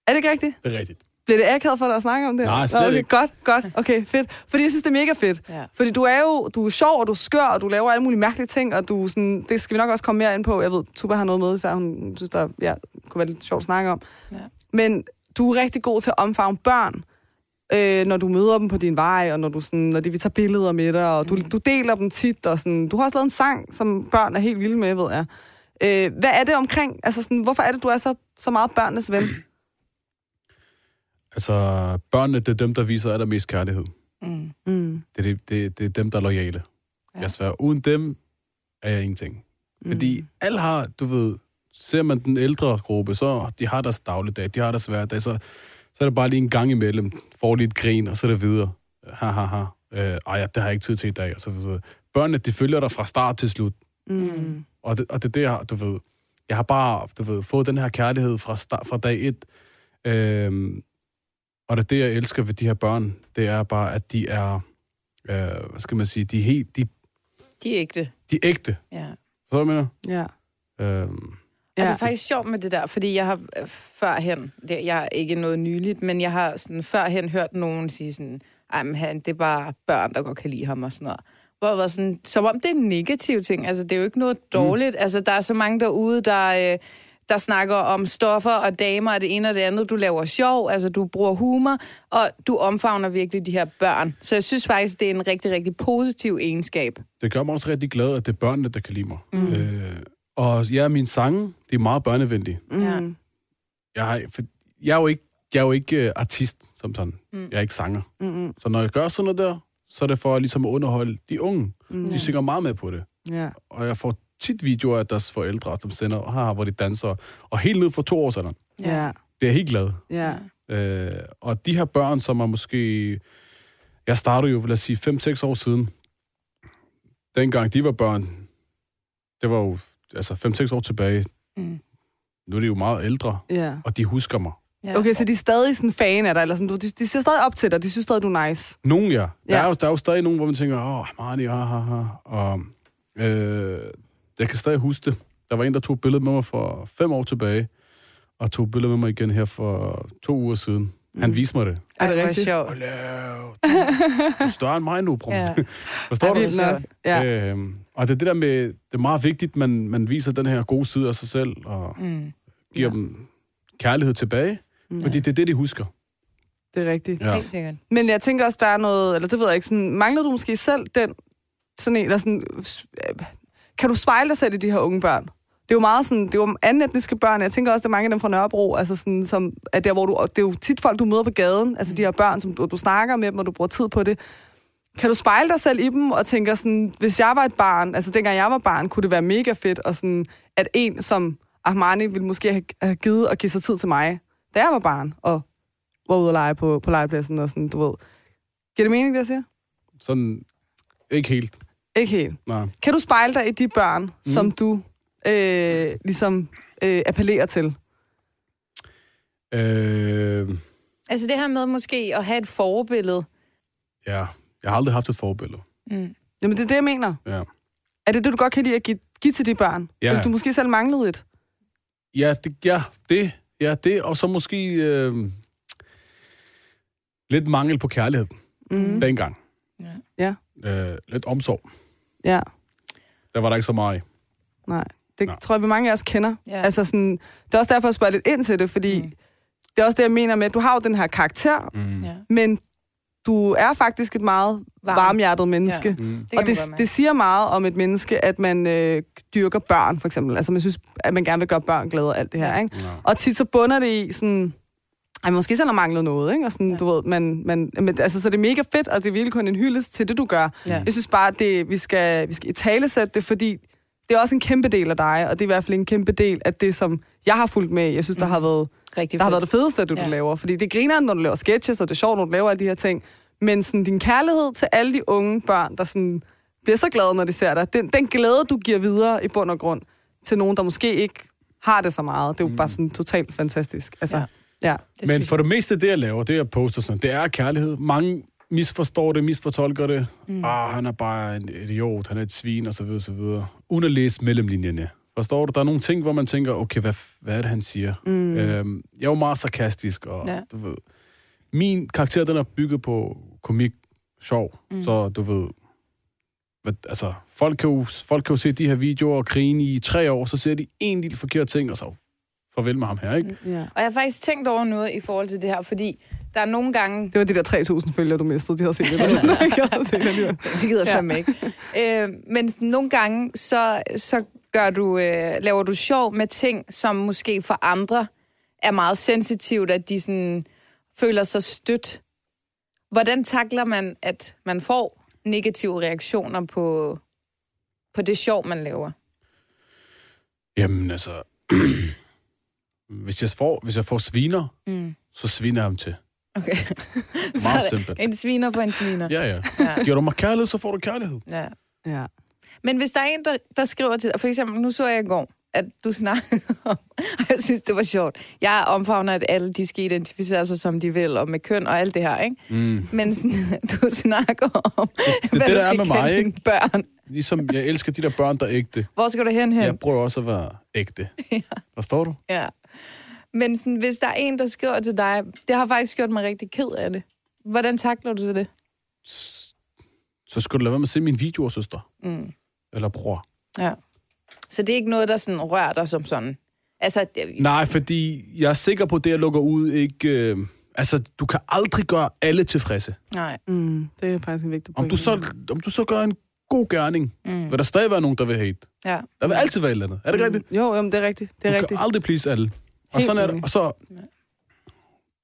Speaker 2: Er det ikke rigtigt?
Speaker 4: Det er rigtigt.
Speaker 2: Bliver det akavet for dig at snakke om det? her?
Speaker 4: Nej, slet
Speaker 2: Nå, okay,
Speaker 4: ikke.
Speaker 2: Godt, godt. Okay, fedt. Fordi jeg synes, det er mega fedt.
Speaker 3: Ja.
Speaker 2: Fordi du er jo du er sjov, og du er skør, og du laver alle mulige mærkelige ting, og du er sådan, det skal vi nok også komme mere ind på. Jeg ved, Tuba har noget med, så hun synes, der ja, kunne være lidt sjovt at snakke om.
Speaker 3: Ja.
Speaker 2: Men du er rigtig god til at omfavne børn, øh, når du møder dem på din vej, og når, du sådan, når de vil tage billeder med dig, og du, mm. du deler dem tit. Og sådan. Du har også lavet en sang, som børn er helt vilde med, ved jeg. Øh, hvad er det omkring? Altså sådan, hvorfor er det, du er så, så meget børnenes ven?
Speaker 4: Altså, børnene, det er dem, der viser allermest kærlighed.
Speaker 3: Mm.
Speaker 2: *clears throat* Mm.
Speaker 4: Det er, det, det, det er dem, der er lojale.
Speaker 3: Ja.
Speaker 4: Ja. Jeg svær, uden dem er jeg ingenting. Fordi
Speaker 2: Mm.
Speaker 4: alle har, du ved, ser man den ældre gruppe, så de har deres dagligdag, de har deres hverdag, så, så er det bare lige en gang imellem, får lige et grin, og så er det videre. Ha, ha, ha. Øh, ej, det har jeg ikke tid til i dag, og så videre. Børnene, de følger dig fra start til slut,
Speaker 2: Mm.
Speaker 4: og det, og det er det, jeg har, du ved, jeg har bare, du ved, fået den her kærlighed fra, start, fra dag et, øhm, og det er det, jeg elsker ved de her børn, det er bare, at de er, øh, hvad skal man sige, de er helt, de,
Speaker 3: De er ægte.
Speaker 4: de er ægte.
Speaker 3: Ja.
Speaker 4: Så jeg mener?
Speaker 2: Ja.
Speaker 4: Øhm,
Speaker 3: Ja. Altså, det er faktisk sjovt med det der, fordi jeg har øh, førhen, det, jeg er ikke noget nyligt, men jeg har sådan førhen hørt nogen sige sådan, ej, men han, det er bare børn, der godt kan lide ham og sådan noget. Hvor jeg var sådan, som om det er en negativ ting. Altså, det er jo ikke noget dårligt. Mm. Altså, der er så mange derude, der, øh, der snakker om stoffer og damer og det ene og det andet. Du laver sjov, altså du bruger humor, og du omfavner virkelig de her børn. Så jeg synes faktisk, det er en rigtig, rigtig positiv egenskab.
Speaker 4: det gør mig også rigtig glad, at det er børnene, der kan lide mig. Mm. Øh, og ja, mine sange, de er meget børnevenlige.
Speaker 3: Ja.
Speaker 2: Mm.
Speaker 4: Jeg, har, for, jeg er jo ikke, jeg er jo ikke øh, artist, som sådan. Mm. Jeg er ikke sanger.
Speaker 2: Mm-mm.
Speaker 4: Så når jeg gør sådan noget der, så er det for ligesom at underholde de unge. Mm. De synger meget med på det.
Speaker 2: Ja.
Speaker 4: Og jeg får tit videoer af deres forældre, som sender, haha, hvor de danser. Og helt ned for to år sådan.
Speaker 2: Ja.
Speaker 4: Det er helt glad.
Speaker 2: Ja.
Speaker 4: Øh, og de her børn, som er måske... Jeg startede jo, lad os sige, 5-6 år siden. Dengang de var børn, det var jo altså 5-6 år tilbage.
Speaker 3: Mm.
Speaker 4: Nu er de jo meget ældre,
Speaker 2: Ja.
Speaker 4: og de husker mig.
Speaker 3: Ja.
Speaker 2: Okay, så de er stadig sådan fan af dig, eller sådan, du- de, de ser stadig op til dig, de synes stadig, du er nice.
Speaker 4: Nogle, ja. Der,
Speaker 2: Ja.
Speaker 4: Er jo, der er jo stadig nogen, hvor man tænker, åh, oh, Marnie, ha, ha, ha. Og, øh, jeg kan stadig huske det. Der var en, der tog et billede med mig for fem år tilbage, og tog et billede med mig igen her for to uger siden. Han
Speaker 2: Mm.
Speaker 4: viste mig det.
Speaker 2: Er det
Speaker 3: Ej, hvor
Speaker 2: rigtigt?
Speaker 3: sjovt.
Speaker 4: Hold da, du er større end mig nu, bro. *laughs*
Speaker 3: Ja.
Speaker 4: Ja. Forstår du?
Speaker 3: Ej,
Speaker 2: Vildt nok. Ja.
Speaker 4: Øhm, og det er det der med, det er meget vigtigt, at man, man viser den her gode side af sig selv, og
Speaker 3: Mm.
Speaker 4: giver ja. dem kærlighed tilbage,
Speaker 2: Mm.
Speaker 4: fordi det er det, de husker.
Speaker 2: Det er rigtigt.
Speaker 4: Ja.
Speaker 3: Helt sikkert.
Speaker 2: Men jeg tænker også, der er noget, eller det ved jeg ikke, sådan, mangler du måske selv den, sådan en, eller sådan, øh, kan du spejle dig selv i de her unge børn? Det er jo meget sådan, det er jo anden etniske børn, jeg tænker også, det er mange af dem fra Nørrebro, altså sådan, som, at der, hvor du, og det er jo tit folk, du møder på gaden, altså de her børn, som du, du snakker med dem, og du bruger tid på det. Kan du spejle dig selv i dem og tænker sådan, hvis jeg var et barn, altså dengang jeg var barn, kunne det være mega fedt, og sådan, at en som Ahmani ville måske have- have givet at give sig tid til mig, da jeg var barn, og var ude og lege på, på legepladsen og sådan, du ved. Giver det mening, det jeg siger?
Speaker 4: Sådan, ikke helt.
Speaker 2: Ikke helt.
Speaker 4: Nej.
Speaker 2: Kan du spejle dig i de børn, mm. som du øh, ligesom øh, appellerer til?
Speaker 4: Øh,
Speaker 3: Altså det her med måske at have et forbillede.
Speaker 4: ja, jeg har aldrig haft et forbillede.
Speaker 3: Mm.
Speaker 2: Jamen, det er det, jeg mener.
Speaker 4: Ja.
Speaker 2: Er det det, du godt kan lide at give, give til de børn?
Speaker 4: Ja.
Speaker 2: Eller du måske selv manglede et?
Speaker 4: Ja, det, ja, det, ja, det, og så måske øh, lidt mangel på kærlighed
Speaker 2: Mm.
Speaker 4: dengang.
Speaker 3: Ja.
Speaker 2: Ja.
Speaker 4: Øh, lidt omsorg.
Speaker 2: Ja,
Speaker 4: Der var der ikke så meget af.
Speaker 2: nej. Det
Speaker 4: Nå.
Speaker 2: tror jeg, vi mange af os kender.
Speaker 3: Ja.
Speaker 2: Altså sådan, det er også derfor, jeg spørger lidt ind til det, fordi
Speaker 3: Mm.
Speaker 2: mm. det er også det, jeg mener med, at du har jo den her karakter,
Speaker 4: Mm.
Speaker 3: ja.
Speaker 2: men du er faktisk et meget
Speaker 3: Varm.
Speaker 2: varmhjertet menneske.
Speaker 3: Ja.
Speaker 4: Mm.
Speaker 3: Det
Speaker 2: og det, det siger meget om et menneske, at man øh, dyrker børn, for eksempel. Altså, man synes, at man gerne vil gøre børn glade og alt det her,
Speaker 3: Ja.
Speaker 2: ikke?
Speaker 4: Ja.
Speaker 2: Og tit så bunder det i sådan... Ej, måske selv har manglet noget, ikke? Og sådan,
Speaker 3: Ja.
Speaker 2: ja. du ved, man, man, men, altså, så det er mega fedt, og det er virkelig kun en hyldest til det, du gør.
Speaker 3: Ja.
Speaker 2: Jeg synes bare, at det, vi skal, vi skal i det, fordi det er også en kæmpe del af dig, og det er i hvert fald en kæmpe del af det, som jeg har fulgt med. Jeg
Speaker 3: Mm.
Speaker 2: synes, der har været
Speaker 3: Rigtig
Speaker 2: der har
Speaker 3: fedt.
Speaker 2: været det fedeste, at du, ja.
Speaker 3: Ja.
Speaker 2: du laver. Fordi det griner, når du laver sketches, og det er sjovt, når du laver alle de her ting. Men sådan, din kærlighed til alle de unge børn, der sådan, bliver så glade, når de ser dig, den, den glæde, du giver videre i bund og grund til nogen, der måske ikke har det så meget, det er jo mm. bare sådan totalt fantastisk. Altså,
Speaker 3: Ja.
Speaker 2: ja. ja.
Speaker 3: Det
Speaker 4: Men for det meste, det jeg laver, det jeg poster sådan, det er kærlighed. Mange misforstår det, misfortolker det. Mm. Ah, han er bare en idiot, han er et svin, og så videre, så videre. Uden at læse mellemlinjerne. Forstår du? Der er nogle ting, hvor man tænker, okay, hvad, hvad er det, han siger? Mm. Øhm, jeg er jo meget sarkastisk, og
Speaker 3: Ja.
Speaker 4: ja. du ved... Min karakter, den er bygget på komik, sjov, mm. så du ved... Hvad, altså, folk kan, jo, folk kan jo se de her videoer og grine i tre år, så ser de en lille forkert ting, og så farvel med ham her, ikke?
Speaker 2: ja.
Speaker 3: Og jeg har faktisk tænkt over noget i forhold til det her, fordi der er nogle gange... *laughs*
Speaker 2: Det var de der 3.000 følgere, du mistede. De havde set det. *laughs* Jeg havde set det alligevel.
Speaker 3: Det gider jeg
Speaker 2: Ja.
Speaker 3: fandme ikke. Øh, men sådan nogle gange, så, så gør du, øh, laver du sjov med ting, som måske for andre er meget sensitivt, at de sådan, føler sig stødt. Hvordan takler man, at man får negative reaktioner på, på det sjov, man laver?
Speaker 4: Jamen altså, *clears throat* hvis, jeg får, hvis jeg får sviner,
Speaker 3: Mm.
Speaker 4: så sviner jeg ham til. *laughs*
Speaker 3: Okay. *laughs* så
Speaker 4: Meget
Speaker 3: er det
Speaker 4: simpelt.
Speaker 3: en sviner på en sviner.
Speaker 4: Ja, ja.
Speaker 3: Ja.
Speaker 4: Giver du mig kærlighed, så får du kærlighed.
Speaker 3: Ja.
Speaker 2: Ja.
Speaker 3: Men hvis der er en, der, der skriver til dig, for eksempel, nu så jeg i går, at du snakkede *laughs* om, og jeg synes, det var sjovt. Jeg omfavner, at alle de skal identificere sig, som de vil, og med køn og alt det her, ikke?
Speaker 4: Mm.
Speaker 3: Men sådan, *laughs* du snakker om, det,
Speaker 4: det,
Speaker 3: hvad
Speaker 4: der
Speaker 3: du
Speaker 4: er
Speaker 3: skal
Speaker 4: med mig,
Speaker 3: kalde
Speaker 4: ikke?
Speaker 3: dine børn.
Speaker 4: Ligesom jeg elsker de der børn, der er ægte.
Speaker 3: Hvor skal du hen hen?
Speaker 4: Jeg prøver også at være ægte. Forstår du?
Speaker 3: *laughs* Ja. Men sådan, hvis der er en, der skriver til dig, det har faktisk gjort mig rigtig ked af det. Hvordan takler du så det?
Speaker 4: Så skulle du lade være med at se mine videoer, søster.
Speaker 3: Mm.
Speaker 4: Eller bror.
Speaker 3: Ja. Så det er ikke noget, der sådan rører dig som sådan? Altså, det,
Speaker 4: Nej, fordi jeg er sikker på, at det, jeg lukker ud, ikke... Øh, altså, du kan aldrig gøre alle tilfredse.
Speaker 3: Nej.
Speaker 2: Mm, det er faktisk en vigtig point.
Speaker 4: Om du så, om du så gør en god gerning,
Speaker 3: Mm.
Speaker 4: vil der stadig være nogen, der vil hate.
Speaker 3: Ja.
Speaker 4: Der vil altid være et eller andet. Er det rigtigt?
Speaker 2: Jo, jamen, det er rigtigt. Det er
Speaker 4: du
Speaker 2: rigtigt.
Speaker 4: kan aldrig please alle. Og
Speaker 2: Helt
Speaker 4: sådan er det.
Speaker 2: enig.
Speaker 4: Og så,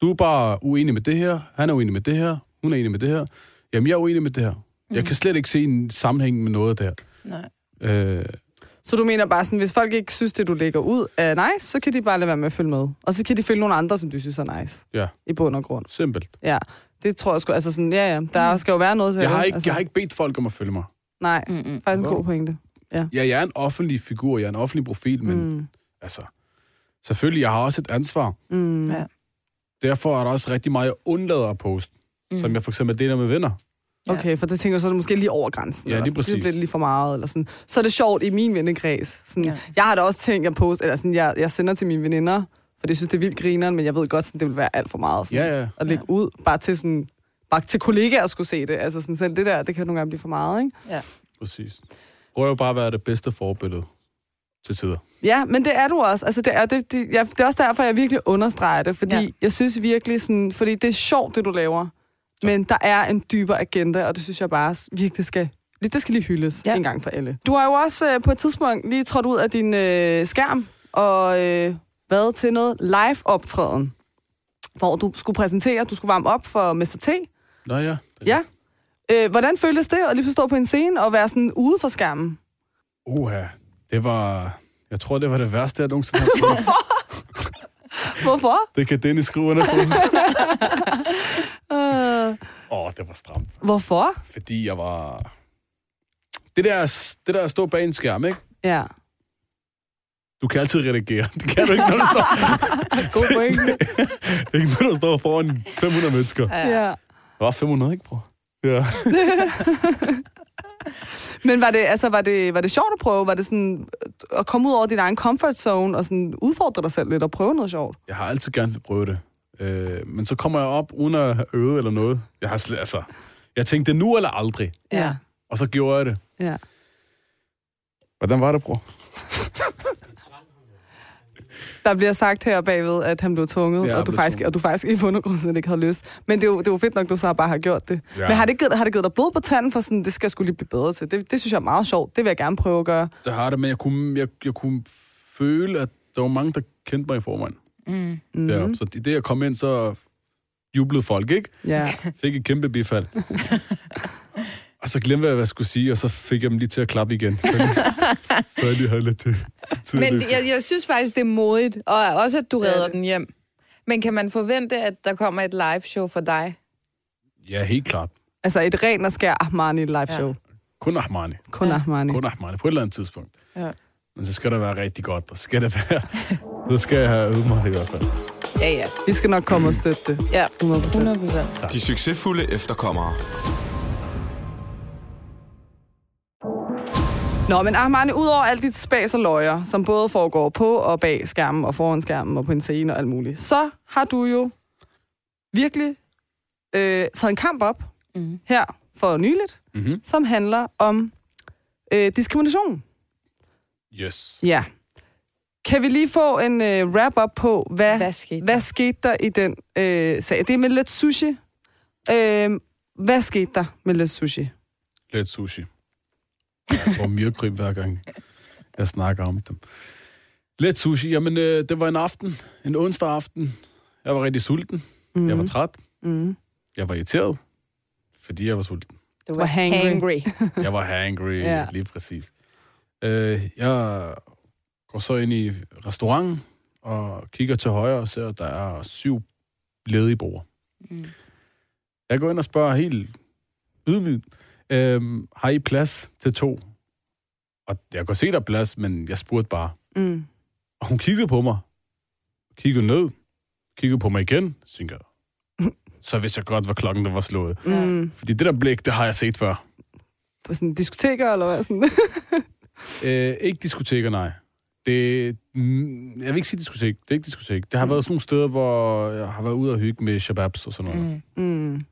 Speaker 4: du er bare uenig med det her, han er uenig med det her, hun er enig med det her. Jamen, jeg er uenig med det her.
Speaker 2: Mm.
Speaker 4: Jeg kan slet ikke se en sammenhæng med noget der.
Speaker 3: Nej.
Speaker 4: Øh,
Speaker 2: Så du mener bare sådan, hvis folk ikke synes, det du lægger ud er nice, så kan de bare lade være med at følge med. Og så kan de følge nogle andre, som de synes er nice.
Speaker 4: Ja.
Speaker 2: I bund og grund.
Speaker 4: simpelt.
Speaker 2: Ja, det tror jeg sgu. Altså sådan, ja, ja. Der skal jo være noget til
Speaker 4: Jeg har,
Speaker 2: alle,
Speaker 4: ikke,
Speaker 2: altså.
Speaker 4: jeg har ikke bedt folk om at følge mig.
Speaker 2: Nej,
Speaker 3: Mm-mm.
Speaker 2: faktisk en god pointe.
Speaker 4: Ja, jeg er en offentlig figur, jeg er en offentlig profil, men
Speaker 2: Mm.
Speaker 4: altså, selvfølgelig, jeg har også et ansvar.
Speaker 2: Mm.
Speaker 3: Ja.
Speaker 2: Ja.
Speaker 4: Derfor er der også rigtig meget, jeg undlader at poste, mm. som jeg for eksempel deler med venner.
Speaker 2: Okay, for det tænker jeg så er det måske lige over grænsen.
Speaker 4: Ja,
Speaker 2: eller
Speaker 4: lige
Speaker 2: sådan.
Speaker 4: præcis.
Speaker 2: Det bliver lidt lige for meget. Eller sådan. Så er det sjovt i min vennekreds. Sådan,
Speaker 3: Ja.
Speaker 2: ja. Jeg har da også tænkt, jeg, post, eller sådan, jeg, jeg sender til mine veninder, for det synes, det er vildt grineren, men jeg ved godt, sådan, det vil være alt for meget sådan,
Speaker 4: Ja, ja.
Speaker 2: at lægge ud. Bare til, sådan, bare til kollegaer skulle se det. Altså sådan, selv det der, det kan nogle gange blive for meget. Ikke?
Speaker 4: Præcis. Prøv jo bare at være det bedste forbillede til tider.
Speaker 2: Ja, men det er du også. Altså, det, er, det, det, jeg, det er også derfor, jeg virkelig understreger det, fordi
Speaker 3: Ja.
Speaker 2: ja. jeg synes virkelig sådan, fordi det er sjovt, det du laver, men der er en dybere agenda, og det synes jeg bare s- virkelig skal det skal lige hyldes
Speaker 3: Ja.
Speaker 2: ja. en gang for alle. Du har jo også øh, på et tidspunkt lige trådt ud af din øh, skærm og øh, været til noget live-optræden, hvor du skulle præsentere, du skulle varme op for Mr. T.
Speaker 4: Nå ja.
Speaker 2: Ja. Øh, hvordan føltes det at lige forstå på en scene og være sådan ude for skærmen?
Speaker 4: Uha, det var... Jeg tror, det var det værste, jeg nogensinde har *laughs* prøvet.
Speaker 2: Hvorfor?
Speaker 4: det kan Dennis skrive under på.
Speaker 2: Øh,
Speaker 4: Åh, oh, det var stramt.
Speaker 2: hvorfor?
Speaker 4: Fordi jeg var... Det der, det der at stå bag en skærm, ikke?
Speaker 2: Ja.
Speaker 4: Du kan altid redigere. *laughs* Det kan du ikke, når du står,
Speaker 2: God pointe.
Speaker 4: ikke, når du står foran 500 mennesker.
Speaker 2: ja.
Speaker 4: Nå, 500, ikke, bror? Ja.
Speaker 2: Men var det, altså, var, det, var det sjovt at prøve? Var det sådan øh, at komme ud over din egen comfort zone og sådan udfordre dig selv lidt og prøve noget sjovt?
Speaker 4: Jeg har altid gerne vil prøve det. Øh, men så kommer jeg op uden at øve eller noget. Jeg har slet, altså, jeg tænkte, det er nu eller aldrig.
Speaker 3: Ja.
Speaker 4: Og så gjorde jeg det.
Speaker 2: ja.
Speaker 4: Hvordan var det, bror?
Speaker 2: Der bliver sagt her bagved, at han blev tvunget,
Speaker 4: Ja,
Speaker 2: ja,
Speaker 4: han
Speaker 2: og, du
Speaker 4: blev
Speaker 2: faktisk,
Speaker 4: tvunget.
Speaker 2: og du faktisk i undergrunden ikke havde lyst. Men det er, jo, det er jo fedt nok, du så bare har gjort det.
Speaker 4: Ja.
Speaker 2: Ja. Men har det, givet, har det givet dig blod på tanden for sådan, det skal jeg skulle lige blive bedre til? Det, det synes jeg er meget sjovt. Det vil jeg gerne prøve at gøre.
Speaker 4: Det har det, men jeg kunne, jeg, jeg kunne føle, at der var mange, der kendte mig i forvejen.
Speaker 3: Mm.
Speaker 2: Mm.
Speaker 4: Mm. Så i det, jeg kom ind, så jublede folk, ikke?
Speaker 2: Ja.
Speaker 4: Fik et kæmpe
Speaker 3: *laughs*
Speaker 4: bifald. og så glemte jeg, hvad jeg skulle sige, og så fik jeg dem lige til at klappe igen. Så,
Speaker 3: *laughs*
Speaker 4: så jeg lige havde lidt til. til at
Speaker 3: Men
Speaker 4: løbe.
Speaker 3: jeg, jeg synes faktisk, det er modigt, og også, at du
Speaker 2: Det er
Speaker 3: redder
Speaker 2: det.
Speaker 3: den hjem. Men kan man forvente, at der kommer et live show for dig?
Speaker 4: Ja, helt klart.
Speaker 2: Altså et ren og skær Armani live show. Ja.
Speaker 4: Kun Ahmani.
Speaker 2: Kun
Speaker 3: Ja.
Speaker 2: Armani.
Speaker 4: Kun Ahmani, på et eller andet tidspunkt.
Speaker 3: Ja.
Speaker 4: Men så skal det være rigtig godt, og så skal det være... så skal jeg have øvet mig i hvert fald.
Speaker 3: Ja, ja.
Speaker 2: Vi skal nok komme og støtte det.
Speaker 3: ja.
Speaker 2: 100%.
Speaker 3: 100 procent.
Speaker 1: De succesfulde efterkommere.
Speaker 2: Nå, men Armani, udover alt dit spas og løjer, som både foregår på og bag skærmen og foran skærmen og på en scene og alt muligt, så har du jo virkelig øh, taget en kamp op
Speaker 3: Mhm.
Speaker 2: mm. her for nyligt,
Speaker 4: Mm-hmm.
Speaker 2: som handler om øh, diskrimination.
Speaker 4: Yes.
Speaker 2: Ja. Kan vi lige få en øh, wrap-up på, hvad,
Speaker 3: Hvad skete
Speaker 2: hvad skete der i den øh, sag? Det er med lidt sushi. Øh, hvad skete der med lidt sushi?
Speaker 4: Lidt sushi. Jeg får myrkryb hver gang, jeg snakker om dem. Lidt sushi. Jamen, øh, det var en aften. En onsdag aften. Jeg var rigtig sulten. Mm. Jeg var træt.
Speaker 2: Mm.
Speaker 4: Jeg var irriteret. Fordi jeg var sulten.
Speaker 3: Du
Speaker 2: var hangry.
Speaker 4: Jeg var hangry. ja.
Speaker 2: Ja.
Speaker 4: Lige præcis. Øh, jeg går så ind i restauranten og kigger til højre og ser, at der er syv ledige bord.
Speaker 3: Mm.
Speaker 4: Jeg går ind og spørger helt ydmygt, øhm, har I plads til to? Og jeg kunne se, der er plads, men jeg spurgte bare.
Speaker 2: Mm.
Speaker 4: Og hun kiggede på mig. Kiggede ned. Kiggede på mig igen. Så tænkte jeg, Så vidste jeg godt, hvad klokken der var slået.
Speaker 3: Ja.
Speaker 2: Mm.
Speaker 4: Fordi det der blik, det har jeg set før.
Speaker 2: På sådan diskoteker eller hvad? Sådan.
Speaker 4: Øh, ikke diskoteker, nej. Det, mm, jeg vil ikke sige diskotek. Det er ikke diskotek. Det har været sådan nogle steder, hvor jeg har været ude og hygge med shababs og sådan noget.
Speaker 3: Mm.
Speaker 2: mm.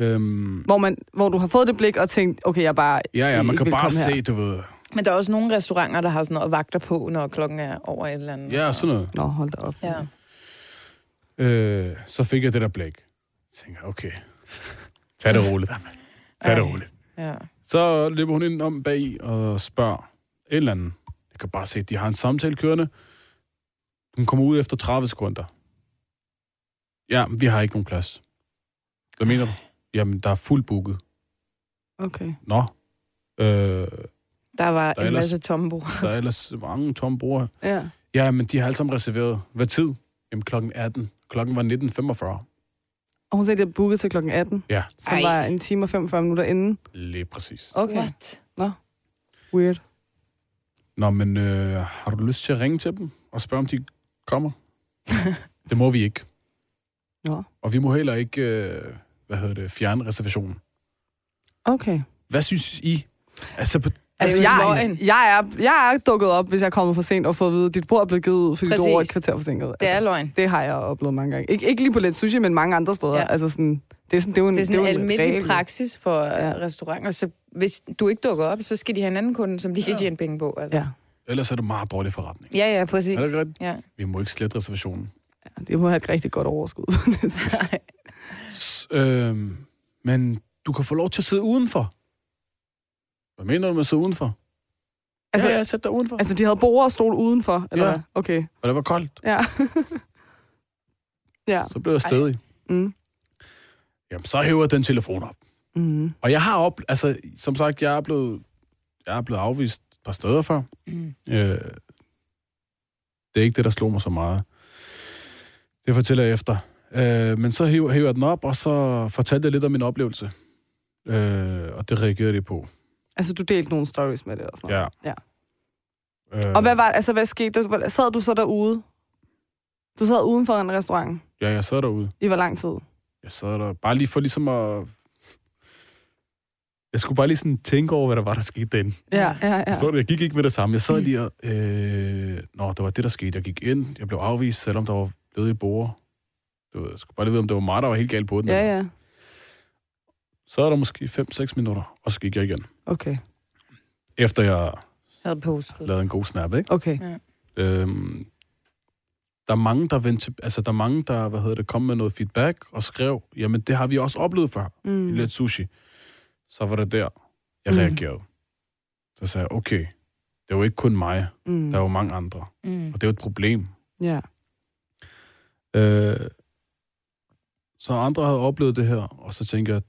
Speaker 4: Mm. Øhm,
Speaker 2: hvor, man, hvor du har fået det blik og tænkt, okay, jeg er bare...
Speaker 4: ja, ja,
Speaker 2: I
Speaker 4: man
Speaker 2: ikke
Speaker 4: kan
Speaker 2: vil
Speaker 4: bare
Speaker 2: komme
Speaker 4: se,
Speaker 2: her.
Speaker 4: du ved.
Speaker 3: Men der er også nogle restauranter, der har sådan noget vagter på, når klokken er over et eller andet.
Speaker 4: Ja, sådan noget.
Speaker 2: Nå, hold da op.
Speaker 3: Ja.
Speaker 4: Øh, så fik jeg det der blik. Jeg tænker, okay, tag det roligt. mand. Tag det
Speaker 3: Ej.
Speaker 4: roligt.
Speaker 3: ja.
Speaker 4: Så løber hun ind om bag i og spørger et eller andet. Jeg kan bare se, at de har en samtale kørende. Hun kommer ud efter 30 sekunder. Ja, men vi har ikke nogen plads. Hvad mener du? Jamen, der er fuldt booket.
Speaker 2: Okay.
Speaker 4: Nå. Øh, der
Speaker 3: Der var
Speaker 4: Der
Speaker 3: der
Speaker 4: er
Speaker 3: en
Speaker 4: ellers-
Speaker 3: masse tomme bord.
Speaker 4: er ellers mange tomme bord.
Speaker 2: Ja.
Speaker 4: Ja, men de har alle sammen reserveret. Hvad tid? Jamen, klokken 18. Klokken var 19.45.
Speaker 2: Og hun sagde, at det er booket til klokken 18,
Speaker 4: Ja,
Speaker 2: som
Speaker 3: Ej.
Speaker 2: var en time og 45 minutter inden.
Speaker 4: lige præcis.
Speaker 2: Okay, What?
Speaker 3: What?
Speaker 2: weird.
Speaker 4: Nå, men øh, har du lyst til at ringe til dem og spørge, om de kommer? det må vi ikke.
Speaker 2: Nå.
Speaker 4: Og vi må heller ikke, øh, hvad hedder det, fjerne reservationen.
Speaker 2: Okay.
Speaker 4: Hvad synes I? Altså, på,
Speaker 2: Altså,
Speaker 3: jo
Speaker 2: jeg,
Speaker 3: løgn.
Speaker 2: jeg, er, jeg er dukket op, hvis jeg er kommet for sent og fået at vide, at dit bord er blevet givet ud, fordi Præcis. du
Speaker 3: Præcis.
Speaker 2: er over et kvarter forsinket.
Speaker 3: *laughs* Det er
Speaker 2: altså,
Speaker 3: løgn.
Speaker 2: det har jeg oplevet mange gange. Ik- ikke lige på lidt sushi, men mange andre steder.
Speaker 3: Ja.
Speaker 2: Ja. Altså sådan, det er sådan, det er jo en,
Speaker 3: Det er sådan en
Speaker 2: jo en
Speaker 3: almindelig
Speaker 2: regel.
Speaker 3: praksis for ja.
Speaker 2: Ja.
Speaker 3: restauranter, så hvis du ikke dukker op, så skal de have en anden kunde, som de kan tjene penge på. Altså.
Speaker 2: Ja.
Speaker 4: ellers er det meget dårlig forretning.
Speaker 3: Ja, ja, præcis.
Speaker 4: Er det rigtigt?
Speaker 3: Ja.
Speaker 4: Vi må ikke slette reservationen.
Speaker 2: Det må have et rigtig godt
Speaker 3: *laughs*
Speaker 2: overskud. *laughs* Altså,
Speaker 4: S- øh, men du kan få lov til at sidde udenfor. Hvad mener du med at sidde udenfor? Altså,
Speaker 2: altså,
Speaker 4: ja, ja, sæt dig udenfor. Altså,
Speaker 2: altså, de havde bord og stol udenfor, eller
Speaker 4: Ja.
Speaker 2: hvad? Okay,
Speaker 4: og det var koldt,
Speaker 2: ja. *laughs* ja.
Speaker 4: så blev jeg stedig.
Speaker 2: Mm.
Speaker 4: Jamen, så hæver jeg den telefon op.
Speaker 2: Mm.
Speaker 4: Og jeg har op, altså, som sagt, jeg er blevet, jeg er blevet afvist et par steder før.
Speaker 3: Mm.
Speaker 4: Øh, det er ikke det, der slog mig så meget. Det fortæller jeg efter. Øh, men så hiver, hiver jeg den op, og så fortalte jeg lidt om min oplevelse. Øh, og det reagerede de på.
Speaker 2: Altså, du delte nogle stories med det og sådan noget.
Speaker 4: Ja.
Speaker 2: Ja.
Speaker 4: Øh,
Speaker 2: Og hvad var altså hvad skete der? Hvor- Sad du så derude? Du sad uden for en restaurant
Speaker 4: Ja, jeg sad derude.
Speaker 2: i hvor lang tid?
Speaker 4: Jeg sad der. Bare lige for ligesom at... Jeg skulle bare lige sådan tænke over, hvad der var, der skete derinde.
Speaker 2: Ja, ja, ja.
Speaker 4: Ja. Stod det, jeg gik ikke med det samme. Jeg sad lige og... Øh, nå, det var det, der skete. Jeg gik ind, jeg blev afvist, selvom der var blevet i borger. Du ved, jeg skulle bare lige vide, om det var mig, der var helt galt på den.
Speaker 2: Ja,
Speaker 4: eller-
Speaker 2: ja.
Speaker 4: Så er der måske 5-6 minutter, og så gik jeg igen.
Speaker 2: Okay,
Speaker 4: Efter jeg
Speaker 3: havde postet.
Speaker 4: lavede en god snap, ikke?
Speaker 2: okay.
Speaker 4: Øhm, der er mange, der vendte til, altså der er mange, der, hvad hedder det, kom med noget feedback og skrev, jamen det har vi også oplevet før mm. i
Speaker 2: Mm.
Speaker 4: Let Sushi. Så var det der, jeg mm.
Speaker 2: Mm.
Speaker 4: reagerede. Så sagde jeg, okay, det er jo ikke kun mig,
Speaker 2: Mm.
Speaker 4: der er jo mange andre,
Speaker 3: Mm.
Speaker 4: og det er jo et problem.
Speaker 2: Ja.
Speaker 4: Øh, så andre havde oplevet det her, og så tænkte jeg,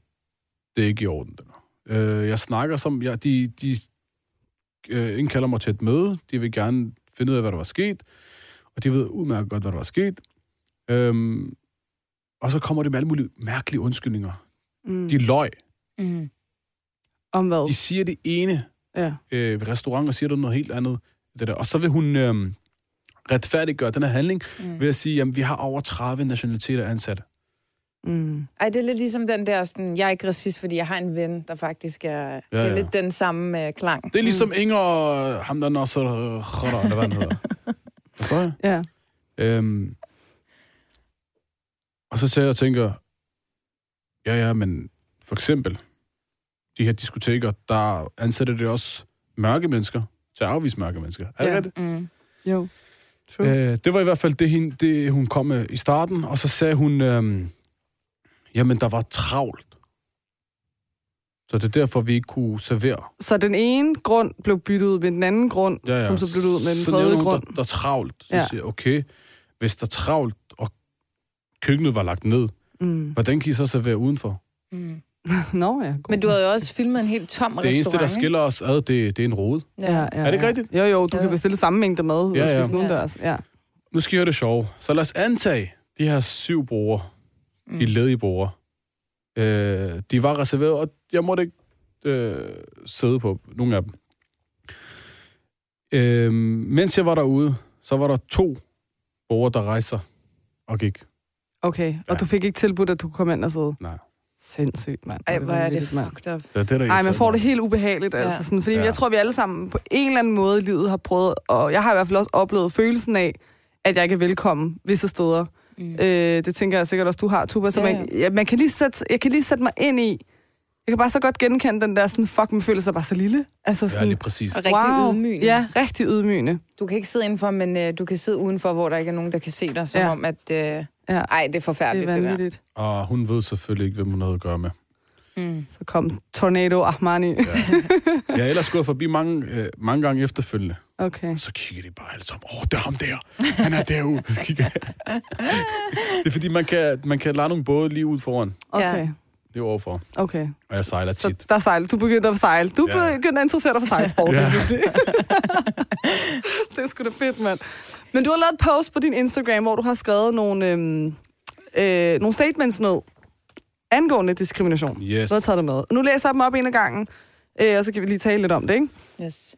Speaker 4: det er ikke i orden. Det der. øh, jeg snakker som, jeg, de, de øh, indkalder mig til et møde, de vil gerne finde ud af, hvad der var sket, og de ved udmærket godt, hvad der var sket. Øhm, og så kommer det med alle mulige mærkelige undskyldninger.
Speaker 2: Mm. Oh.
Speaker 4: De løg.
Speaker 3: Mm.
Speaker 2: Om hvad?
Speaker 4: De siger det ene
Speaker 2: Ja.
Speaker 4: øh, ved restaurant, og siger det noget helt andet. Det der. Og så vil hun øh, retfærdiggøre den her handling
Speaker 3: Mm.
Speaker 4: ved at sige, at vi har over 30 nationaliteter ansat.
Speaker 2: Mm.
Speaker 3: Ej, det er lidt ligesom den der, sådan, jeg er ikke racist, fordi jeg har en ven, der faktisk er... Ja, ja. Det
Speaker 4: ja.
Speaker 3: er lidt den samme øh, klang.
Speaker 4: Det er ligesom Inger og ham, der også rødder, eller hvad han hedder. Forstår jeg?
Speaker 2: Ja.
Speaker 4: Øhm, og så tager jeg og tænker, ja ja, men for eksempel, de her diskoteker, der ansætter det også mørke mennesker til at afvise mørke mennesker. Er det
Speaker 2: Ja.
Speaker 4: rigtigt?
Speaker 3: Mm.
Speaker 2: Jo. True. Øh.
Speaker 4: Øh, det var i hvert fald det, hende, det, hun kom med i starten, og så sagde hun, øhm, jamen der var travlt. Så det er derfor, vi ikke kunne servere.
Speaker 2: Så den ene grund blev byttet ud med den anden grund, ja, ja. som så blev det ud med den
Speaker 4: Så
Speaker 2: tredje
Speaker 4: nævner hun,
Speaker 2: grund.
Speaker 4: Der, der er travlt. Så
Speaker 2: Ja.
Speaker 4: ja. siger jeg, okay, hvis der er travlt, og køkkenet var lagt ned,
Speaker 2: Mm. *laughs*
Speaker 4: hvordan kan I så servere udenfor?
Speaker 3: Mm.
Speaker 2: Nå ja, god.
Speaker 3: Men du havde jo også filmet en helt tom
Speaker 4: Det
Speaker 3: restaurant.
Speaker 4: eneste, der
Speaker 3: ikke?
Speaker 4: skiller os ad, det, det er en rode.
Speaker 2: Ja, ja,
Speaker 4: Er det ikke
Speaker 2: ja.
Speaker 4: rigtigt?
Speaker 2: Jo, jo, du
Speaker 3: Ja.
Speaker 2: kan bestille samme mængde mad ja,
Speaker 4: Ja,
Speaker 2: og
Speaker 4: ja.
Speaker 2: spise ja.
Speaker 3: Ja.
Speaker 2: udendørs. Ja.
Speaker 4: Nu skal jeg høre det sjove. Så lad os antage, de her syv brugere,
Speaker 3: Mm.
Speaker 4: de ledige brugere, øh, de var reserveret, og jeg måtte ikke øh, sidde på nogen af dem. Øh, mens jeg var derude, så var der to brugere, der rejste sig og gik.
Speaker 2: Okay, og
Speaker 4: Ja.
Speaker 2: du fik ikke tilbudt, at du kunne komme ind og sidde?
Speaker 4: Nej.
Speaker 2: Sindssygt, mand.
Speaker 3: Ej, hvor er det
Speaker 2: vanvittigt, mand.
Speaker 3: fucked up.
Speaker 4: Det er det, der
Speaker 2: Ej, man
Speaker 4: irriterede
Speaker 2: får
Speaker 4: mig.
Speaker 2: det helt ubehageligt, ja.
Speaker 3: Ja.
Speaker 2: altså. Sådan, fordi ja.
Speaker 4: Ja.
Speaker 2: jeg tror, vi alle sammen på en eller anden måde i livet har prøvet, og jeg har i hvert fald også oplevet følelsen af, at jeg ikke er velkommen visse steder.
Speaker 3: Mm.
Speaker 2: Øh, det tænker jeg sikkert også, du har, Tuba. Så
Speaker 3: Ja,
Speaker 2: man, ja, man kan lige sætte, jeg kan lige sætte mig ind i, jeg kan bare så godt genkende den der sådan, fuck, man føler sig bare så lille. Altså
Speaker 4: Ja,
Speaker 2: sådan,
Speaker 4: lige præcis.
Speaker 3: Og rigtig wow. ydmygende.
Speaker 2: Ja, rigtig ydmygende.
Speaker 3: Du kan ikke sidde indenfor, men øh, du kan sidde udenfor, hvor der ikke er nogen, der kan se dig, som
Speaker 2: Ja.
Speaker 3: ja. om at... Øh, ja.
Speaker 2: Ja,
Speaker 3: Ej, det er
Speaker 2: det er
Speaker 3: forfærdeligt, det, det der.
Speaker 2: vanvittigt.
Speaker 4: Og hun ved selvfølgelig ikke, hvem hun havde at gøre med.
Speaker 3: Mm.
Speaker 2: Så kom Tornado Armani.
Speaker 4: Jeg er ellers gået forbi mange, øh, mange gange efterfølgende.
Speaker 2: *laughs* Okay.
Speaker 4: Så kigger de bare alle sammen. Åh, det er ham der. Han er derude. Så kigger jeg. det er fordi, man kan, man kan lade nogle både lige ud foran.
Speaker 2: Okay.
Speaker 4: Lige overfor.
Speaker 2: Okay.
Speaker 4: Og jeg sejler
Speaker 2: Så
Speaker 4: tit.
Speaker 2: der sejler. Du begyndte at sejle. Du
Speaker 4: Ja.
Speaker 2: begyndte at interessere dig for sejlsport.
Speaker 4: Ja.
Speaker 2: lige pludselig. *laughs* det er sgu da fedt, mand. Men du har lavet et post på din Instagram, hvor du har skrevet nogle, øhm, øh, nogle statements ned angående diskrimination.
Speaker 4: Yes.
Speaker 2: Nu har jeg taget det med. Nu læser jeg dem op en af gangen, øh, og så kan vi lige tale lidt om det, ikke?
Speaker 3: Yes.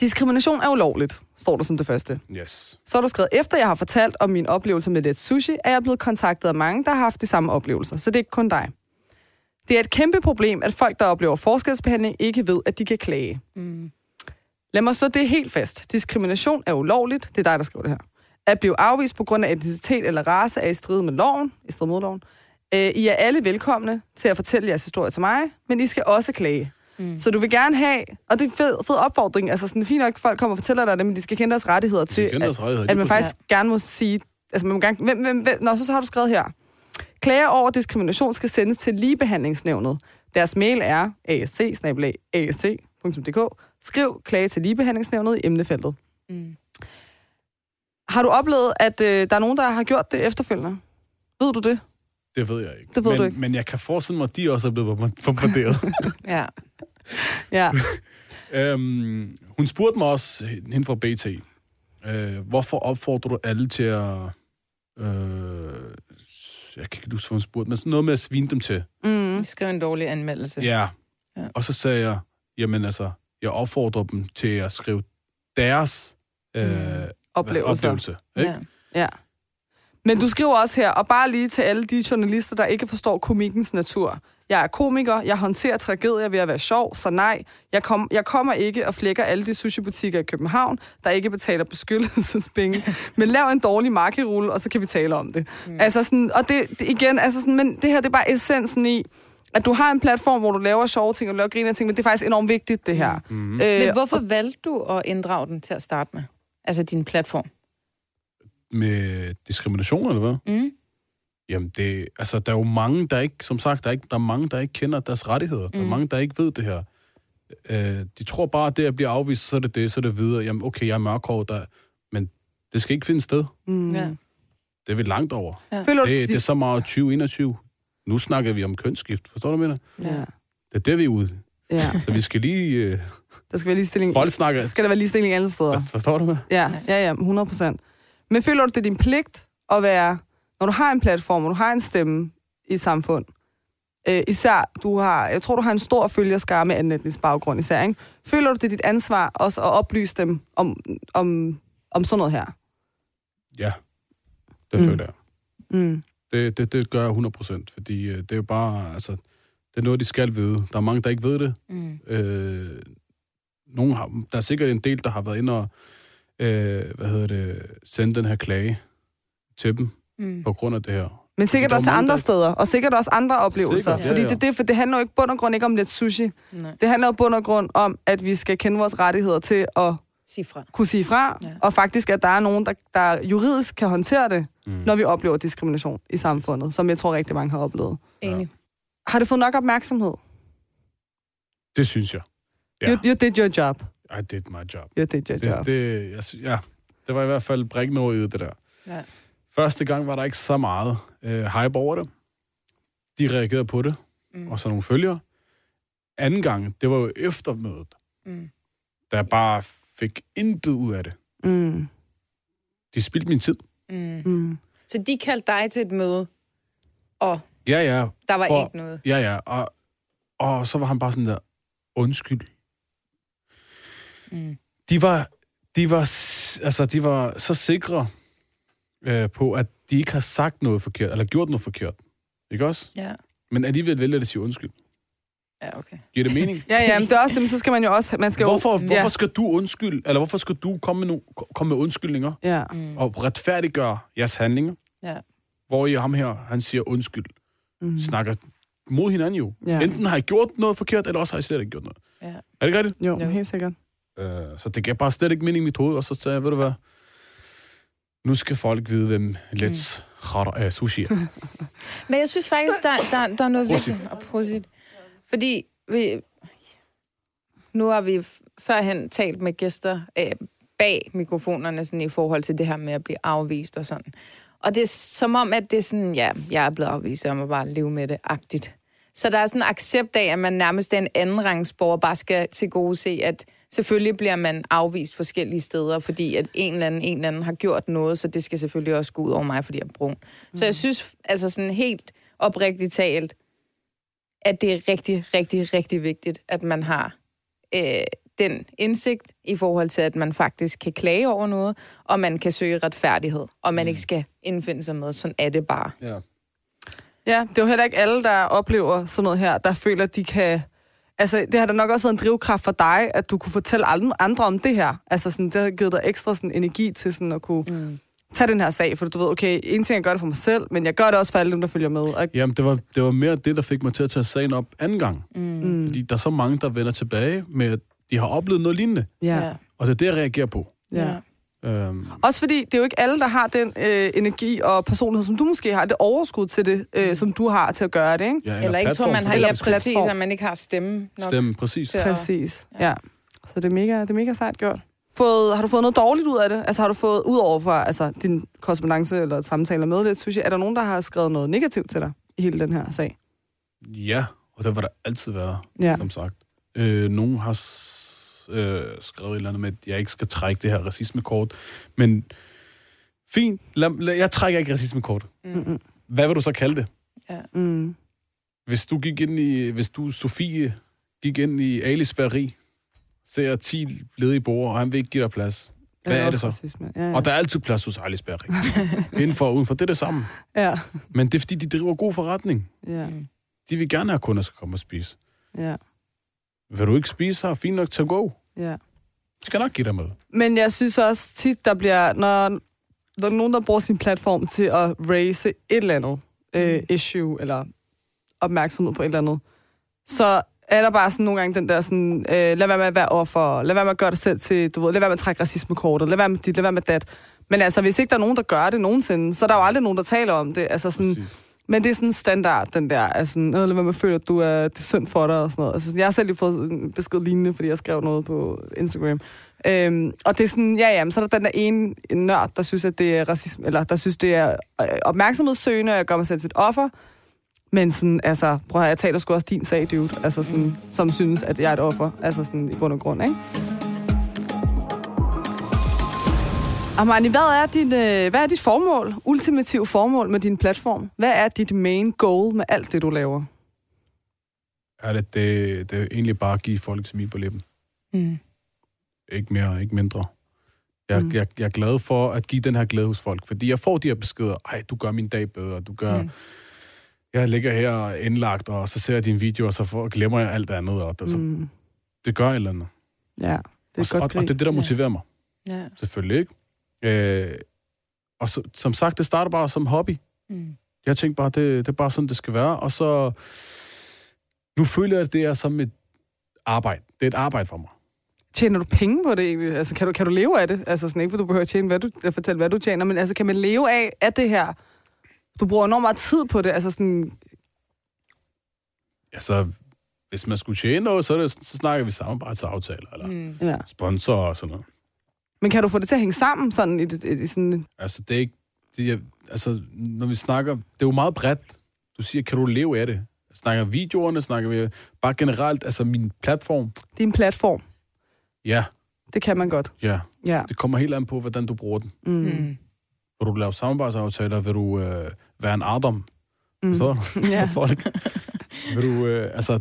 Speaker 2: Diskrimination er ulovligt, står der som det første.
Speaker 4: Yes.
Speaker 2: Så har du skrevet, efter jeg har fortalt om min oplevelse med Let Sushi, er jeg blevet kontaktet af mange, der har haft de samme oplevelser, så det er ikke kun dig. Det er et kæmpe problem, at folk, der oplever forskelsbehandling, ikke ved, at de kan klage.
Speaker 3: Mm.
Speaker 2: Lad mig slå det helt fast. Diskrimination er ulovligt. Det er dig, der skriver det her. At blive afvist på grund af etnicitet eller race er i strid med loven. I strid mod loven. Øh, I er alle velkomne til at fortælle jeres historie til mig, men I skal også klage. Mm. Så du vil gerne have, og det er en fed, fed opfordring, altså sådan fint nok, folk kommer og fortæller dig det, men de skal kende deres rettigheder til,
Speaker 4: kende deres
Speaker 2: at,
Speaker 4: rettigheder, lige
Speaker 2: at man
Speaker 4: præcis.
Speaker 2: faktisk gerne må sige, altså man må gerne, hvem, hvem, hvem, nå, så, så har du skrevet her. Klager over diskrimination skal sendes til ligebehandlingsnævnet. Deres mail er asc-ast.dk. Skriv klage til ligebehandlingsnævnet i emnefeltet.
Speaker 3: Mm.
Speaker 2: Har du oplevet, at øh, der er nogen, der har gjort det efterfølgende? Ved du det?
Speaker 4: Det ved jeg ikke.
Speaker 2: Det ved
Speaker 4: men,
Speaker 2: du ikke.
Speaker 4: Men jeg kan forestille mig, at de også er blevet bomb- bombarderet.
Speaker 3: Ja.
Speaker 4: *laughs*
Speaker 2: Ja.
Speaker 4: øhm, hun spurgte mig også, hende fra BT, øh, hvorfor opfordrer du alle til at... Øh, jeg kan ikke huske, hvad hun spurgte, men sådan noget med at svine dem til.
Speaker 2: Mm.
Speaker 3: Skriv en dårlig anmeldelse.
Speaker 4: Ja.
Speaker 3: Ja.
Speaker 4: Og så sagde jeg, jamen altså, jeg opfordrer dem til at skrive deres øh,
Speaker 2: Oplevelser.
Speaker 4: oplevelse. Ikke?
Speaker 3: Ja.
Speaker 2: Ja. Men du skriver også her, og bare lige til alle de journalister, der ikke forstår komikkens natur. Jeg er komiker, jeg håndterer tragedier ved at være sjov, så nej, jeg, kom, jeg kommer ikke og flækker alle de sushibutikker i København, der ikke betaler beskyttelsespenge. Men lav en dårlig makkerulle, og så kan vi tale om det. Mm. Altså sådan, og det, det igen, altså sådan, men det her det er bare essensen i, at du har en platform, hvor du laver sjove ting, og du laver griner ting, men det er faktisk enormt vigtigt, det her. Mm. Øh,
Speaker 3: Men hvorfor valgte du at inddrage den til at starte med? Altså din platform.
Speaker 4: Med diskrimination, eller hvad?
Speaker 3: Mm.
Speaker 4: Jamen, det, altså, der er jo mange, der ikke, som sagt, der er, ikke, der er mange, der ikke kender deres rettigheder. Mm. Der er mange, der ikke ved det her. Øh, de tror bare, at det at blive afvist, så er det det, så er det videre. Jamen, okay, jeg er mørkhåret, der, men det skal ikke finde sted.
Speaker 2: mm.
Speaker 3: Ja.
Speaker 4: Det er vi langt over.
Speaker 2: Føler du,
Speaker 4: Det, det er så meget 2021. Nu snakker vi om kønsskift, forstår du, hvad jeg mener?
Speaker 2: ja.
Speaker 4: Det er det, vi er ude. i.
Speaker 2: ja,
Speaker 4: Så vi skal lige... Øh,
Speaker 2: der skal være ligestilling.
Speaker 4: folk
Speaker 2: *laughs*
Speaker 4: snakker...
Speaker 2: Skal der være ligestilling alle steder?
Speaker 4: Forstår du, hvad?
Speaker 2: Ja, ja, ja, 100 procent. Men føler du, det er din pligt at være, når du har en platform, og du har en stemme i et samfund, øh, især, du har, jeg tror, du har en stor følgerskare med anden etnisk baggrund især, ikke? Føler du, det er dit ansvar også at oplyse dem om, om, om sådan noget her?
Speaker 4: Ja, det
Speaker 2: Mm.
Speaker 4: mm. føler jeg.
Speaker 2: Mm.
Speaker 4: Det, det, det gør jeg 100%, fordi øh, det er jo bare, altså, det er noget, de skal vide. Der er mange, der ikke ved det.
Speaker 3: Mm.
Speaker 4: Øh, nogen har, der er sikkert en del, der har været inde og øh, hvad hedder det, sende den her klage til dem
Speaker 3: Mm.
Speaker 4: på grund af det her.
Speaker 2: Men sikkert
Speaker 4: Der er
Speaker 2: også
Speaker 4: mange,
Speaker 2: andre
Speaker 4: der-
Speaker 2: steder, og sikkert også andre oplevelser.
Speaker 4: Sikkert, ja,
Speaker 2: fordi
Speaker 4: ja.
Speaker 2: Det, det, for det handler jo ikke bund og grund ikke om lidt sushi.
Speaker 3: Nej.
Speaker 2: Det handler jo bund og grund om, at vi skal kende vores rettigheder til at
Speaker 3: Sig fra.
Speaker 2: kunne sige fra, ja.
Speaker 3: Ja.
Speaker 2: og faktisk, at der er nogen, der, der juridisk kan håndtere det, mm. når vi oplever diskrimination i samfundet, som jeg tror rigtig mange har oplevet.
Speaker 3: Enig.
Speaker 2: Har det fået nok opmærksomhed?
Speaker 4: Det synes jeg. Ja.
Speaker 2: You, you did your job.
Speaker 4: I did my job.
Speaker 2: You did your
Speaker 4: Det,
Speaker 2: job.
Speaker 4: det, jeg, sy- ja, det var i hvert fald brækken over i det der.
Speaker 3: Ja.
Speaker 4: Første gang var der ikke så meget øh, hype over det. De reagerede på det,
Speaker 3: Mm.
Speaker 4: og så nogle følgere. Anden gang, det var jo eftermødet,
Speaker 3: Mm.
Speaker 4: der jeg bare fik intet ud af det.
Speaker 2: Mm,
Speaker 4: De spildte min tid.
Speaker 3: Mm.
Speaker 2: mm.
Speaker 3: Så de kaldte dig til et møde, og
Speaker 4: Ja, ja,
Speaker 3: der var
Speaker 4: For-
Speaker 3: ikke noget.
Speaker 4: ja, ja. Og, og så var han bare sådan der, undskyld.
Speaker 3: Mm.
Speaker 4: De var, de var, s- altså, de var så sikre øh, på, at de ikke har sagt noget forkert, eller gjort noget forkert. Ikke også?
Speaker 3: Ja.
Speaker 4: Men alligevel vælger de at sige undskyld.
Speaker 3: Ja, okay.
Speaker 4: Giver det
Speaker 3: *laughs*
Speaker 4: mening?
Speaker 2: Ja, ja, men det er også det, men så skal man jo også... Man skal
Speaker 4: Hvorfor,
Speaker 2: jo,
Speaker 4: hvorfor skal du undskylde, eller hvorfor skal du komme med, no, komme med undskyldninger
Speaker 2: Ja, ja.
Speaker 3: Mm.
Speaker 4: og retfærdiggøre jeres handlinger?
Speaker 3: Ja.
Speaker 4: Hvor I ham her, han siger undskyld,
Speaker 2: Mm.
Speaker 4: snakker mod hinanden jo.
Speaker 2: Ja.
Speaker 4: Ja. Enten har I gjort noget forkert, eller også har I slet ikke gjort noget.
Speaker 3: Ja.
Speaker 4: Er det ikke rigtigt?
Speaker 2: Jo,
Speaker 3: Jo.
Speaker 2: helt sikkert.
Speaker 4: Øh, så det gav bare slet ikke mening i mit hoved, og så sagde jeg, ved du hvad, nu skal folk vide, hvem Let's mm. øh, sushi er.
Speaker 3: Men jeg synes faktisk, der, der, der er noget
Speaker 4: Prosit.
Speaker 3: vigtigt. Og prosit. Fordi vi, nu har vi f- førhen talt med gæster øh, bag mikrofonerne sådan i forhold til det her med at blive afvist og sådan. Og det er som om, at det er sådan, ja, jeg er blevet afvist, jeg må bare leve med det, agtigt. Så der er sådan en accept af, at man nærmest er en anden rangsborger, bare skal til gode se, at selvfølgelig bliver man afvist forskellige steder, fordi at en eller anden, en eller anden har gjort noget, så det skal selvfølgelig også gå ud over mig, fordi jeg er brun. Mm. Så jeg synes, altså sådan helt oprigtigt talt, at det er rigtig, rigtig, rigtig vigtigt, at man har øh, den indsigt i forhold til, at man faktisk kan klage over noget, og man kan søge retfærdighed, og man ikke skal indfinde sig med, sådan er det bare.
Speaker 4: ja.
Speaker 2: Ja, det er jo heller ikke alle, der oplever sådan noget her, der føler, at de kan... Altså, det har da nok også været en drivkraft for dig, at du kunne fortælle alle andre om det her. Altså, sådan, det har givet dig ekstra sådan, energi til sådan, at kunne mm. tage den her sag, for du ved, okay, en ting, jeg gør det for mig selv, men jeg gør det også for alle dem, der følger med. Og,
Speaker 4: Jamen, det var, det var mere det, der fik mig til at tage sagen op anden gang. Mm. Fordi der er så mange, der vender tilbage med, at de har oplevet noget lignende.
Speaker 2: ja,
Speaker 4: Og det er det, jeg reagerer på.
Speaker 2: ja, ja.
Speaker 3: Ja.
Speaker 4: Øhm,
Speaker 2: Også fordi, det er jo ikke alle, der har den øh, energi og personlighed, som du måske har, det overskud til det, øh, som du har til at gøre det, ikke?
Speaker 4: ja,
Speaker 3: Eller ikke tror,
Speaker 4: platform
Speaker 3: man
Speaker 4: for
Speaker 3: har,
Speaker 4: den
Speaker 3: ja,
Speaker 4: sags skyld.
Speaker 3: præcis, at man ikke har stemme nok.
Speaker 4: Stemme, præcis.
Speaker 3: til at-
Speaker 2: Præcis, ja. Så det er mega, det er mega sejt gjort. Fået, har du fået noget dårligt ud af det? Altså har du fået, ud over for altså, din korrespondence eller samtaler med det, synes jeg, er der nogen, der har skrevet noget negativt til dig i hele den her sag?
Speaker 4: Ja, og det var der altid været,
Speaker 2: Ja.
Speaker 4: ja. som sagt. Øh, nogen har s- øh, skrevet et eller andet med, at jeg ikke skal trække det her racismekort, men fint, lad, lad, jeg trækker ikke racismekort.
Speaker 3: Mm.
Speaker 2: Mm-mm.
Speaker 4: Hvad vil du så kalde det?
Speaker 2: Mm.
Speaker 4: Hvis du gik ind i, hvis du, Sofie, gik ind i Alis Bageri, ser 10 ledige borger, og han vil ikke give dig plads. Hvad er
Speaker 2: også
Speaker 4: det så?
Speaker 2: Racisme. Ja, ja.
Speaker 4: Og der er altid plads hos Alis
Speaker 3: *laughs*
Speaker 4: Bageri. Indenfor og udenfor, det er det samme.
Speaker 2: ja.
Speaker 4: Men det er, fordi de driver god forretning.
Speaker 2: ja.
Speaker 4: de vil gerne have at kunder, skal komme og spise.
Speaker 2: Ja,
Speaker 4: Vil du ikke spise her? Fint nok, to go.
Speaker 2: ja.
Speaker 4: Jeg skal nok give dig mad.
Speaker 2: Men jeg synes også tit, der bliver, når der er nogen, der bruger sin platform til at raise et eller andet øh, issue, eller opmærksomhed på et eller andet, så er der bare sådan nogle gange den der sådan, øh, lad være med at være offer, lad være med at gøre dig selv til, du ved, lad være med at trække racismekortet, lad være med dit, lad være med dat. Men altså, hvis ikke der er nogen, der gør det nogensinde, så er der jo aldrig nogen, der taler om det. Altså sådan,
Speaker 4: Præcis.
Speaker 2: men det er sådan standard, den der, altså, noget, eller hvad man føler, at du er, det er synd for dig og sådan noget. Altså, jeg har selv lige fået en besked lignende, fordi jeg skrev noget på Instagram. Øhm, og det er sådan, ja, ja, men så er der den der ene nørd, der synes, at det er racisme, eller der synes, det er øh, opmærksomhedssøgende, og jeg gør mig selv til et offer. Men sådan, altså, prøv at høre, jeg taler sgu også din sag, dude. Altså sådan, som synes, at jeg er et offer. Altså sådan, i bund og grund, ikke? Armani, hvad er, din, øh, hvad er dit formål, ultimative formål med din platform? Hvad er dit main goal med alt det, du laver?
Speaker 4: Er det, det, det er egentlig bare at give folk smil på læben.
Speaker 3: Mm.
Speaker 4: Ikke mere, ikke mindre. Jeg,
Speaker 2: Mm.
Speaker 4: mm. jeg, jeg er glad for at give den her glæde hos folk, fordi jeg får de her beskeder. Ej, du gør min dag bedre. Du gør...
Speaker 3: Mm.
Speaker 4: Mm. Jeg ligger her indlagt, og så ser jeg dine videoer, og så får, glemmer jeg alt andet. Og det, mm.
Speaker 2: Mm,
Speaker 4: det gør et eller andet.
Speaker 2: ja, det er
Speaker 4: og,
Speaker 2: et
Speaker 4: så- og,
Speaker 2: godt
Speaker 4: og
Speaker 2: greb.
Speaker 4: det er det, der
Speaker 3: Ja.
Speaker 4: motiverer mig.
Speaker 3: Ja.
Speaker 4: Selvfølgelig ikke. Øh, og så, som sagt, det starter bare som hobby.
Speaker 3: Mm.
Speaker 4: Jeg tænkte bare, det, det er bare sådan, det skal være. Og så... Nu føler jeg, at det er som et arbejde. Det er et arbejde for mig.
Speaker 2: Tjener du penge på det egentlig? Altså, kan du, kan du leve af det? Altså, sådan ikke, for du behøver at tjene, hvad du, at fortælle, hvad du tjener, men altså, kan man leve af, af det her? Du bruger enormt meget tid på det, altså sådan...
Speaker 4: Altså, hvis man skulle tjene noget, så, er det, så snakker vi samarbejdsaftaler eller mm.
Speaker 3: Mm.
Speaker 2: Ja.
Speaker 4: sponsorer og sådan noget.
Speaker 2: Men kan du få det til at hænge sammen sådan i, i, i sådan...
Speaker 4: Altså, det er ikke... Det er, altså, når vi snakker... Det er jo meget bredt. Du siger, kan du leve af det? Snakker videoerne, snakker vi bare generelt, altså min platform.
Speaker 2: Din platform,
Speaker 4: Ja,
Speaker 2: det kan man godt.
Speaker 4: ja.
Speaker 2: Ja.
Speaker 4: Det kommer helt an på, hvordan du bruger den.
Speaker 2: Mm. Mm.
Speaker 3: Mm.
Speaker 4: Vil du lave samarbejdsaftaler? Vil du øh, være en Adam?
Speaker 2: Mm.
Speaker 4: Så
Speaker 2: *laughs* Ja.
Speaker 4: ja. for folk. Vil du, øh, altså,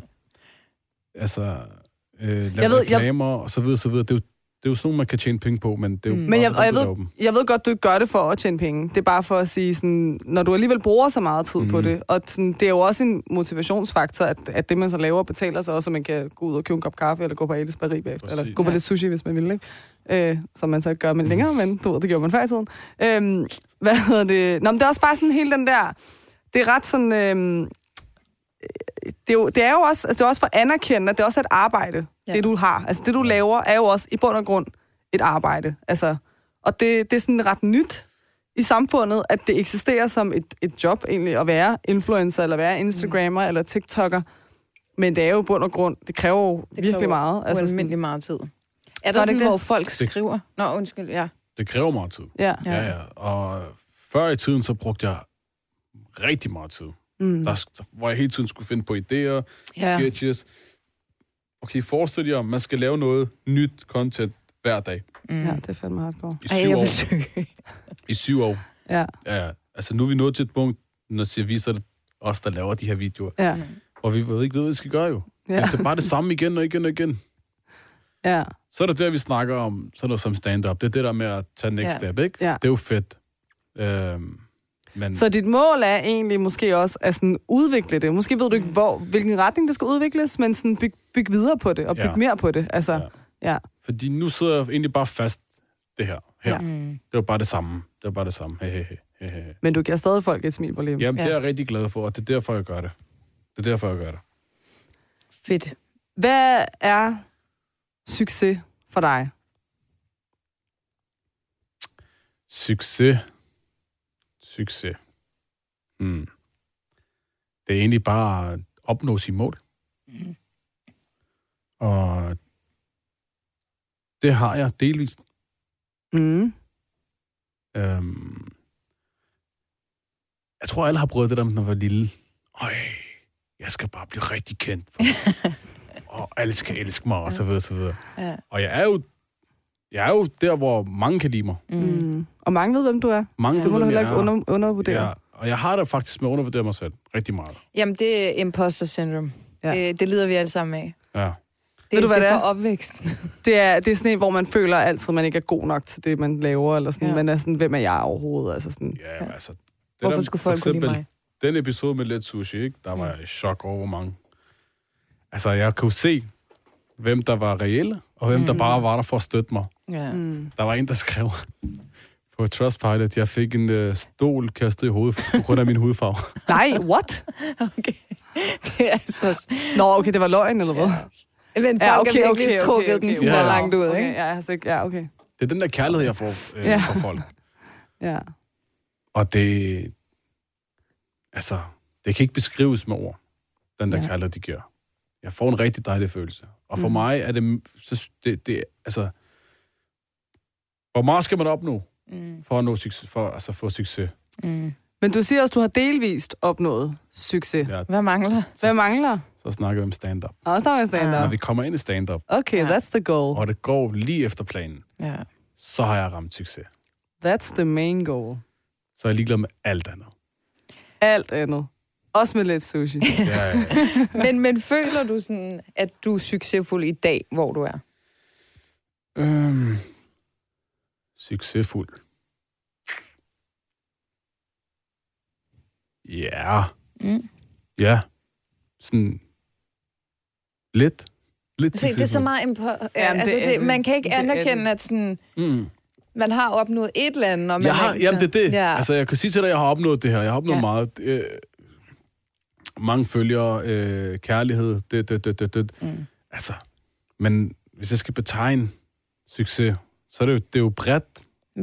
Speaker 4: altså øh, lave
Speaker 2: Jeg
Speaker 4: jeg
Speaker 2: ved-
Speaker 4: ved,
Speaker 2: jeg-
Speaker 4: reklamer jeg... og så videre, så videre. Det er, jo, det er jo sådan nogle, man kan tjene penge på, men det er jo
Speaker 3: Mm.
Speaker 4: mm.
Speaker 2: Men jeg- og jeg ved-
Speaker 4: Dem.
Speaker 2: jeg ved godt, du ikke gør det for at tjene penge. Det er bare for at sige, sådan, når du alligevel bruger så meget tid mm. på
Speaker 4: Mhm.
Speaker 2: det, og sådan, det er jo også en motivationsfaktor, at, at det, man så laver, betaler sig også, så man kan gå ud og købe en kop kaffe, eller gå på Alice Paris bagefter,
Speaker 4: Præcis.
Speaker 2: eller gå på
Speaker 3: Ja.
Speaker 2: lidt sushi, hvis man vil, ikke? Øh, som man så ikke gør man længere, men du ved, det gjorde man før i tiden. Øhm, hvad hedder det? Nå, men det er også bare sådan hele den der... Det er ret sådan... Øhm, det er, jo, det er jo også, altså det er også for anerkendende, at det også er et arbejde, ja.
Speaker 3: Ja.
Speaker 2: det du har. Altså det du laver er jo også i bund og grund et arbejde. Altså, og det, det er sådan ret nyt i samfundet, at det eksisterer som et, et job egentlig, at være influencer, eller være instagrammer, mm. eller tiktoker. Men det er jo i bund og grund, det kræver jo det virkelig
Speaker 3: kræver
Speaker 2: meget.
Speaker 3: Altså,
Speaker 2: sådan,
Speaker 3: ualmindelig meget tid. Er
Speaker 2: Gør
Speaker 3: der
Speaker 2: det
Speaker 3: sådan,
Speaker 2: ikke det?
Speaker 3: hvor folk skriver? Nå, undskyld, ja.
Speaker 4: Det kræver meget tid.
Speaker 2: ja.
Speaker 4: Ja. ja, ja. Og før i tiden, så brugte jeg rigtig meget tid.
Speaker 2: Mm.
Speaker 4: Der, sk- hvor jeg hele tiden skulle finde på idéer,
Speaker 3: ja.
Speaker 4: ja. sketches. Okay, forestil jer, man skal lave noget nyt content hver dag
Speaker 3: Mm.
Speaker 2: ja, det er fandme hardcore.
Speaker 4: i
Speaker 3: Ej,
Speaker 4: syv
Speaker 3: jeg
Speaker 4: år.
Speaker 3: vil søge.
Speaker 4: I syv år.
Speaker 2: Ja,
Speaker 4: Ja, ja. altså nu er vi nået til et punkt, når siger vi, så er det os, der laver de her videoer.
Speaker 2: ja,
Speaker 4: Og vi ved ikke, hvad vi skal gøre jo.
Speaker 2: ja,
Speaker 4: Ja. Det er bare det samme igen og igen og igen.
Speaker 2: ja,
Speaker 4: Så er det der, vi snakker om, sådan noget som stand-up. Det er det der med at tage next
Speaker 3: Ja.
Speaker 4: ja. step, ikke?
Speaker 2: ja.
Speaker 4: Det er jo fedt. Øhm, men så...
Speaker 2: Så dit mål er egentlig måske også at sådan udvikle det. Måske ved du ikke,
Speaker 4: Mm.
Speaker 2: hvor, hvilken retning det skal udvikles, men sådan byg, byg videre på det, og byg ja.
Speaker 4: Ja.
Speaker 2: mere på det. Altså, ja.
Speaker 4: Ja. fordi nu sidder jeg egentlig bare fast det her. her.
Speaker 2: Ja.
Speaker 4: Ja.
Speaker 3: Mm.
Speaker 4: Det var bare det samme. Det var bare det samme. Hey, hey, hey, hey, hey.
Speaker 2: Men du giver stadig folk et smil på læben.
Speaker 4: Jamen, ja. det
Speaker 3: Ja.
Speaker 4: er jeg rigtig glad for, og det er derfor, jeg gør det. Det er derfor, jeg gør det.
Speaker 3: Fedt.
Speaker 2: Hvad er succes for dig?
Speaker 4: Succes. Succes. Hmm. Det er egentlig bare at opnå sine mål.
Speaker 2: Mm-hmm.
Speaker 3: Mm.
Speaker 4: Og det har jeg delvist.
Speaker 2: Mm.
Speaker 4: Øhm, jeg tror, alle har prøvet det der, når man var lille. Øj, jeg skal bare blive rigtig kendt. For,
Speaker 2: *laughs*
Speaker 4: og alle skal elske mig, og så videre, så videre.
Speaker 3: Ja.
Speaker 4: Og jeg er jo, jeg er jo der, hvor mange kan lide mig.
Speaker 3: Mm.
Speaker 2: Mm. Og mange ved, hvem du er.
Speaker 4: Mange
Speaker 3: Ja.
Speaker 2: Det må
Speaker 4: ved, hvem
Speaker 2: du heller
Speaker 4: jeg
Speaker 2: ikke
Speaker 4: er.
Speaker 2: under, undervurdere.
Speaker 4: Ja, og jeg har det faktisk med at undervurdere mig selv rigtig meget.
Speaker 3: Jamen, det er imposter syndrome.
Speaker 2: Ja.
Speaker 3: Ja. Det, det lider vi alle sammen af.
Speaker 4: Ja.
Speaker 3: Det
Speaker 2: Ved du,
Speaker 3: er,
Speaker 2: hvad
Speaker 3: det
Speaker 2: det
Speaker 3: er
Speaker 2: er?
Speaker 3: for opvæksten. *laughs*
Speaker 2: Det, er, det er sådan en, hvor man føler altid, man ikke er god nok til det, man laver. Eller sådan. Ja.
Speaker 3: Ja.
Speaker 2: Man er sådan, hvem er jeg overhovedet? Altså sådan.
Speaker 4: Ja, altså... Det
Speaker 3: Hvorfor skulle folk kunne lide mig? Mm.
Speaker 4: den episode med Let Sushi, ikke? der var jeg i chok over, hvor mange... Altså, jeg kunne se, hvem der var reelle, og hvem mm. der bare var der for at støtte mig.
Speaker 3: Ja. *laughs*
Speaker 2: Mm.
Speaker 4: Der var en, der skrev på Trustpilot, at jeg fik en øh, stol kastet i hovedet på grund af min hudfarve.
Speaker 2: Nej, what?
Speaker 3: Okay. Det er altså...
Speaker 2: Nå, okay, det var løgn, eller hvad?
Speaker 3: Men folk ja, okay, har virkelig okay, okay, trukket okay, okay, den sådan
Speaker 4: Ja.
Speaker 3: der langt ud,
Speaker 2: okay,
Speaker 3: ikke?
Speaker 2: Ja, jeg har sagt, ja, okay.
Speaker 4: Det er den der kærlighed, jeg får øh,
Speaker 2: Ja.
Speaker 4: yeah. fra folk.
Speaker 2: Ja.
Speaker 4: Og det... Altså, det kan ikke beskrives med ord, den der
Speaker 2: Ja.
Speaker 4: ja. kærlighed, de giver. Jeg får en rigtig dejlig følelse. Og for
Speaker 2: Mm.
Speaker 4: mm. mig er det, så, det, det... Altså... Hvor meget skal man opnå
Speaker 3: Mm.
Speaker 4: for at nå succes, for, altså, få succes?
Speaker 3: Mm.
Speaker 2: Men du siger også, du har delvist opnået succes.
Speaker 4: Ja,
Speaker 3: Hvad mangler?
Speaker 2: Hvad mangler?
Speaker 4: så snakker vi om stand-up.
Speaker 2: Også der var
Speaker 4: Ja. Når
Speaker 2: stand-up.
Speaker 4: vi kommer ind i stand-up,
Speaker 2: Okay,
Speaker 3: Ja.
Speaker 2: that's the goal.
Speaker 4: og det går lige efter planen,
Speaker 3: Ja.
Speaker 4: så har jeg ramt succes.
Speaker 2: That's the main goal.
Speaker 4: Så er jeg ligeglad med alt andet.
Speaker 2: Alt andet. Også med lidt
Speaker 4: *laughs*
Speaker 2: sushi.
Speaker 4: Ja, ja.
Speaker 3: *laughs* Men, men føler du sådan, at du er succesfuld i dag, hvor du er?
Speaker 4: Øhm, succesfuld. Ja,
Speaker 3: Mm.
Speaker 4: ja. Sådan lidt. Lidt
Speaker 3: Se, det er så meget impo- Jamen,
Speaker 2: Jamen,
Speaker 3: altså,
Speaker 2: det er
Speaker 3: det,
Speaker 2: det.
Speaker 3: man kan ikke
Speaker 2: Det er det.
Speaker 3: anerkende, at sådan,
Speaker 4: Mm.
Speaker 3: man har opnået et eller andet. Og man
Speaker 4: Jeg har,
Speaker 3: ikke-
Speaker 4: jamen, det er det.
Speaker 3: Ja.
Speaker 4: Ja. Altså, jeg kan sige til dig, at jeg har opnået det her. Jeg har opnået
Speaker 3: Ja.
Speaker 4: ja. meget. Øh, mange følgere, øh, kærlighed, det, det, det, det, det.
Speaker 3: Mm.
Speaker 4: Altså, men hvis jeg skal betegne succes, så er det jo, det er jo bredt.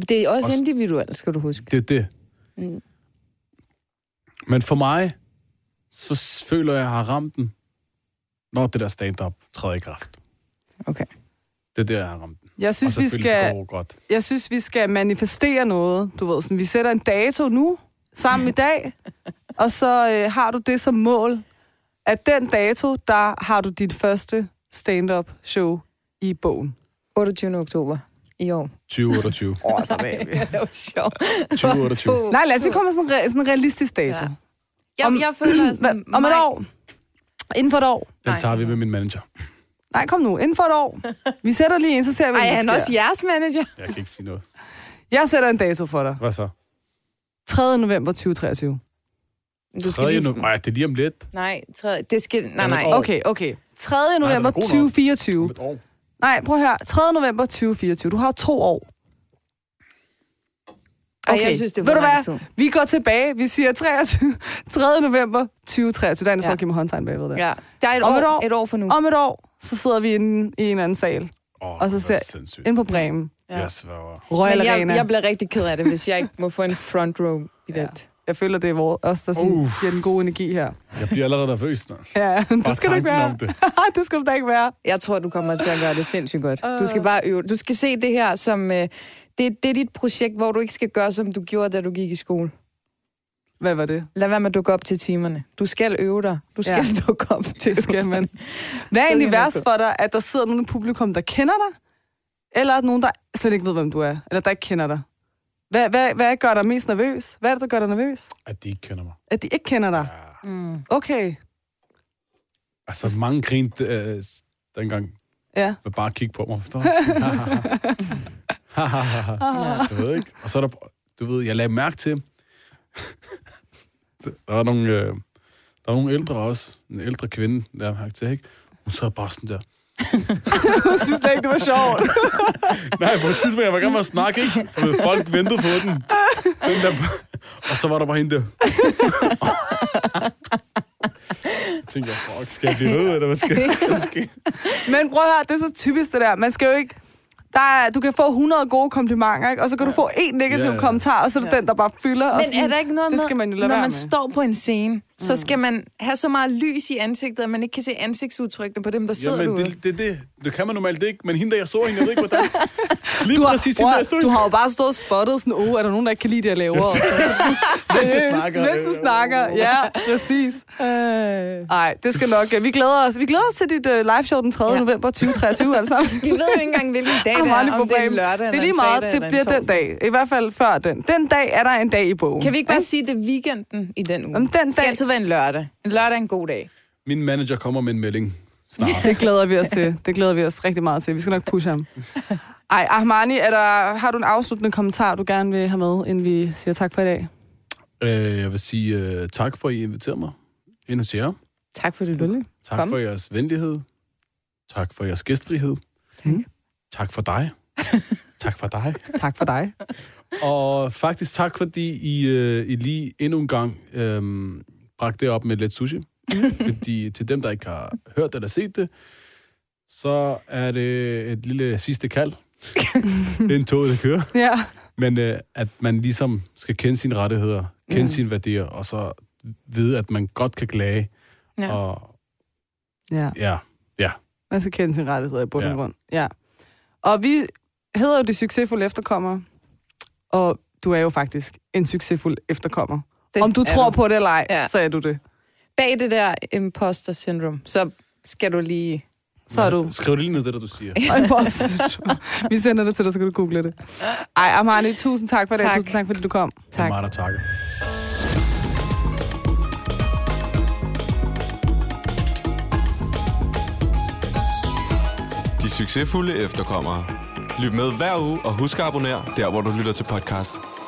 Speaker 3: Det er også
Speaker 4: Også-
Speaker 3: individuelt, skal du huske.
Speaker 4: Det er det.
Speaker 3: Mm.
Speaker 4: Men for mig, så s- føler jeg, at jeg har ramt den, når det der stand-up træder i kraft.
Speaker 3: Okay.
Speaker 4: Det er der, jeg har ramt den.
Speaker 2: Jeg synes,
Speaker 4: og
Speaker 2: vi
Speaker 4: selvfølgelig,
Speaker 2: skal,
Speaker 4: det går godt.
Speaker 2: jeg synes, vi skal manifestere noget. Du ved, sådan, vi sætter en dato nu,
Speaker 4: *laughs*
Speaker 2: sammen i dag, og så øh, har du det som mål, at den dato, der har du dit første stand-up show i bogen.
Speaker 3: 28. oktober i
Speaker 2: *laughs*
Speaker 3: år.
Speaker 4: 2028.
Speaker 2: Oh,
Speaker 3: det var sjovt.
Speaker 4: 2028.
Speaker 2: Nej, lad os lige komme med sådan en, re- sådan en realistisk dato.
Speaker 3: Ja.
Speaker 2: Ja.
Speaker 3: Jeg,
Speaker 2: Om-
Speaker 3: jeg føler *clears throat* sådan...
Speaker 2: Om et år. Inden for et år.
Speaker 4: Den
Speaker 3: Nej.
Speaker 4: tager vi med min manager.
Speaker 2: Nej, kom nu. Inden for et år. Vi sætter lige en, så ser vi, hvad
Speaker 3: Ej,
Speaker 2: der
Speaker 3: er han
Speaker 2: sker.
Speaker 3: også jeres manager?
Speaker 4: Jeg kan ikke sige noget.
Speaker 2: Jeg sætter en dato for dig.
Speaker 4: Hvad så?
Speaker 2: 3. november 2023.
Speaker 3: Du
Speaker 4: 3. Lige... Nej, det er lige om lidt.
Speaker 3: Nej, tredje, det skal... Nej,
Speaker 4: Om et
Speaker 3: nej.
Speaker 4: år.
Speaker 2: Okay, okay. 3.
Speaker 4: den er
Speaker 2: november
Speaker 4: god nok.
Speaker 2: 2024.
Speaker 4: Om et år.
Speaker 2: Nej, prøv at høre. 3. november 2024. Du har to år.
Speaker 3: Ej, jeg synes, det er for
Speaker 2: Ved du
Speaker 3: lang
Speaker 2: hvad?
Speaker 3: tid.
Speaker 2: Vi går tilbage. Vi siger *laughs* 23. 3. november 2023. Der er en, der
Speaker 3: Ja.
Speaker 2: ja. giver mig håndtegn bagved der. Ja.
Speaker 3: Ja. Der er et
Speaker 2: Om
Speaker 3: år,
Speaker 2: et år.
Speaker 3: et år for nu.
Speaker 2: Om et år, så sidder vi inde i en anden sal.
Speaker 4: Oh,
Speaker 2: Og så ser-
Speaker 4: Sindssygt.
Speaker 2: Inde på Bremen.
Speaker 3: Ja.
Speaker 4: Jeg sværger.
Speaker 2: Royal
Speaker 3: Men jeg,
Speaker 2: Arena.
Speaker 3: jeg
Speaker 2: Jeg,
Speaker 3: bliver rigtig ked af det, hvis jeg ikke må få en front row i det.
Speaker 2: jeg føler, det er vores, os, der sådan,
Speaker 4: Uh.
Speaker 2: giver den gode energi her.
Speaker 4: Jeg bliver allerede nervøs. Når.
Speaker 2: Ja, *laughs* det skal du ikke
Speaker 4: tanken
Speaker 2: være.
Speaker 4: om det.
Speaker 2: *laughs* det skal du da ikke være.
Speaker 3: Jeg tror, du kommer til at gøre det sindssygt godt. Du
Speaker 2: Øh.
Speaker 3: skal bare øve. Du skal se det her som... Øh, det, det er dit projekt, hvor du ikke skal gøre, som du gjorde, da du gik i skole.
Speaker 2: Hvad var det?
Speaker 3: Lad være med at dukke op til timerne. Du skal øve dig. Du skal *laughs*
Speaker 2: Ja.
Speaker 3: ja. dukke op til
Speaker 2: Det skal man.
Speaker 3: øvelserne.
Speaker 2: Hvad er
Speaker 3: Så
Speaker 2: egentlig
Speaker 3: kan man
Speaker 2: værst
Speaker 3: gå.
Speaker 2: for dig, at der sidder nogen i publikum, der kender dig, eller at nogen, der slet ikke ved, hvem du er, eller der ikke kender dig? Hvad, hvad, hvad gør dig mest nervøs? Hvad er det, der gør dig nervøs?
Speaker 4: At de ikke kender mig.
Speaker 2: At de ikke kender dig?
Speaker 4: Ja.
Speaker 3: *laughs* Mm.
Speaker 2: Okay,
Speaker 4: Altså, mange grinte øh, dengang.
Speaker 2: ja.
Speaker 4: Vil bare kigge på mig,
Speaker 2: *laughs*
Speaker 4: forstår du? *laughs*
Speaker 2: Ah.
Speaker 4: jeg ved ikke. Og så er der, du ved, jeg lagde mærke til, *laughs* der var nogle, øh, der var nogle ældre også, en ældre kvinde, der jeg mærke til, ikke? Hun sad bare sådan der.
Speaker 2: Jeg synes da ikke, det var sjovt.
Speaker 4: Nej, på et tidspunkt, jeg var i gang med at snakke, ikke? Du ved, folk ventede på den. den der, og så var der bare hende der. Jeg tænkte, fuck, skal jeg blive ved, eller hvad skal, hvad skal jeg?
Speaker 2: *laughs* Men prøv at høre, det er så typisk det der. Man skal jo ikke... Der er, du kan få 100 gode komplimenter, ikke? og så kan du få én negativ
Speaker 4: Ja, ja.
Speaker 2: kommentar, og så er det
Speaker 3: Ja.
Speaker 2: den, der bare fylder. og
Speaker 3: Men
Speaker 2: sådan,
Speaker 3: er der ikke noget
Speaker 2: det
Speaker 3: med,
Speaker 2: skal man jo lade
Speaker 3: når
Speaker 2: være
Speaker 3: man
Speaker 2: med. Mm.
Speaker 3: står på en scene, så skal man have så meget lys i ansigtet, at man ikke kan se ansigtsudtrykkene på dem, der sidder
Speaker 4: Jamen,
Speaker 3: derude?
Speaker 4: det, det, det, det kan man normalt ikke, men hende der, jeg så hende, jeg ved ikke, hvordan. Lige
Speaker 2: du har,
Speaker 4: præcis hende,
Speaker 2: bror,
Speaker 4: der, jeg så
Speaker 2: du
Speaker 4: hende.
Speaker 2: har jo bare stået og spottet sådan, oh, er der nogen, der ikke kan lide det, jeg laver? Og så-
Speaker 4: Mens vi
Speaker 2: Seriøst,
Speaker 4: snakker.
Speaker 2: Mens du snakker, ja, præcis.
Speaker 3: Øh...
Speaker 2: Nej, det skal nok. Vi glæder os. Vi glæder os til dit uh, live show den 3.
Speaker 3: Ja.
Speaker 2: Ja. november 2023, alle
Speaker 3: *laughs*
Speaker 2: sammen.
Speaker 3: Vi ved jo ikke engang, hvilken
Speaker 2: *laughs*
Speaker 3: dag det
Speaker 2: Kom, Arne,
Speaker 3: er, om
Speaker 2: på
Speaker 3: det er en
Speaker 2: banen.
Speaker 3: lørdag
Speaker 2: Det er lige meget.
Speaker 3: eller en fredag
Speaker 2: Det
Speaker 3: eller
Speaker 2: bliver
Speaker 3: en
Speaker 2: den
Speaker 3: torsdag.
Speaker 2: dag. I hvert fald før den. Den dag er der en dag i bogen.
Speaker 3: Kan vi ikke bare sige, at det er weekenden i den uge?
Speaker 2: Om den
Speaker 3: det skal
Speaker 2: dag-
Speaker 3: altid være en lørdag. En lørdag er en god dag.
Speaker 4: Min manager kommer med en melding snart.
Speaker 2: Det glæder vi os til.
Speaker 3: *laughs*
Speaker 2: Det glæder vi os rigtig meget til. Vi skal nok pushe ham. Ej, Ahmani, er der, har du en afsluttende kommentar, du gerne vil have med, inden vi siger tak for i dag?
Speaker 4: Øh, jeg vil sige øh, tak for, at I inviterede mig ind hos jer.
Speaker 3: Tak for det, Lille.
Speaker 4: Tak
Speaker 3: Kom.
Speaker 4: for jeres venlighed. Tak for jeres gæstfrihed.
Speaker 3: Tak.
Speaker 4: Tak for
Speaker 3: *laughs*
Speaker 4: dig. tak for dig.
Speaker 2: Tak for dig.
Speaker 4: Og faktisk tak, fordi I, øh, I lige endnu en gang øh, bragte det op med lidt
Speaker 3: *laughs*
Speaker 4: sushi. fordi til dem, der ikke har hørt eller set det, så er det et lille sidste
Speaker 3: *laughs*
Speaker 4: kald. det er en tog, der kører.
Speaker 2: Ja.
Speaker 4: Men øh, at man ligesom skal kende sine rettigheder, kende
Speaker 2: Ja.
Speaker 4: sine værdier, og så vide, at man godt kan klage.
Speaker 3: Ja.
Speaker 4: Og,
Speaker 2: ja.
Speaker 4: ja.
Speaker 2: Man skal kende sine rettigheder i bund og
Speaker 4: Ja.
Speaker 2: grund. Ja. Og vi hedder jo de succesfulde efterkommere, og du er jo faktisk en succesfuld efterkommer.
Speaker 3: Det
Speaker 2: Om du
Speaker 3: er
Speaker 2: tror på det eller ej, ja.
Speaker 3: Ja.
Speaker 2: så er du det.
Speaker 3: Bag det der imposter syndrome, så skal du lige...
Speaker 2: Så er du
Speaker 4: Skriv det lige ned, det der, du
Speaker 2: *laughs*
Speaker 4: siger.
Speaker 2: Og en
Speaker 3: *laughs*
Speaker 2: post. Vi sender det til dig, så kan du google det. Ej, Armani, tusind tak for det.
Speaker 3: Tak.
Speaker 2: Tusind tak, fordi du kom.
Speaker 4: Det er
Speaker 3: Tak.
Speaker 4: mig, der takker.
Speaker 1: De succesfulde efterkommere. Lyt med hver uge og husk at abonnere der, hvor du lytter til podcast.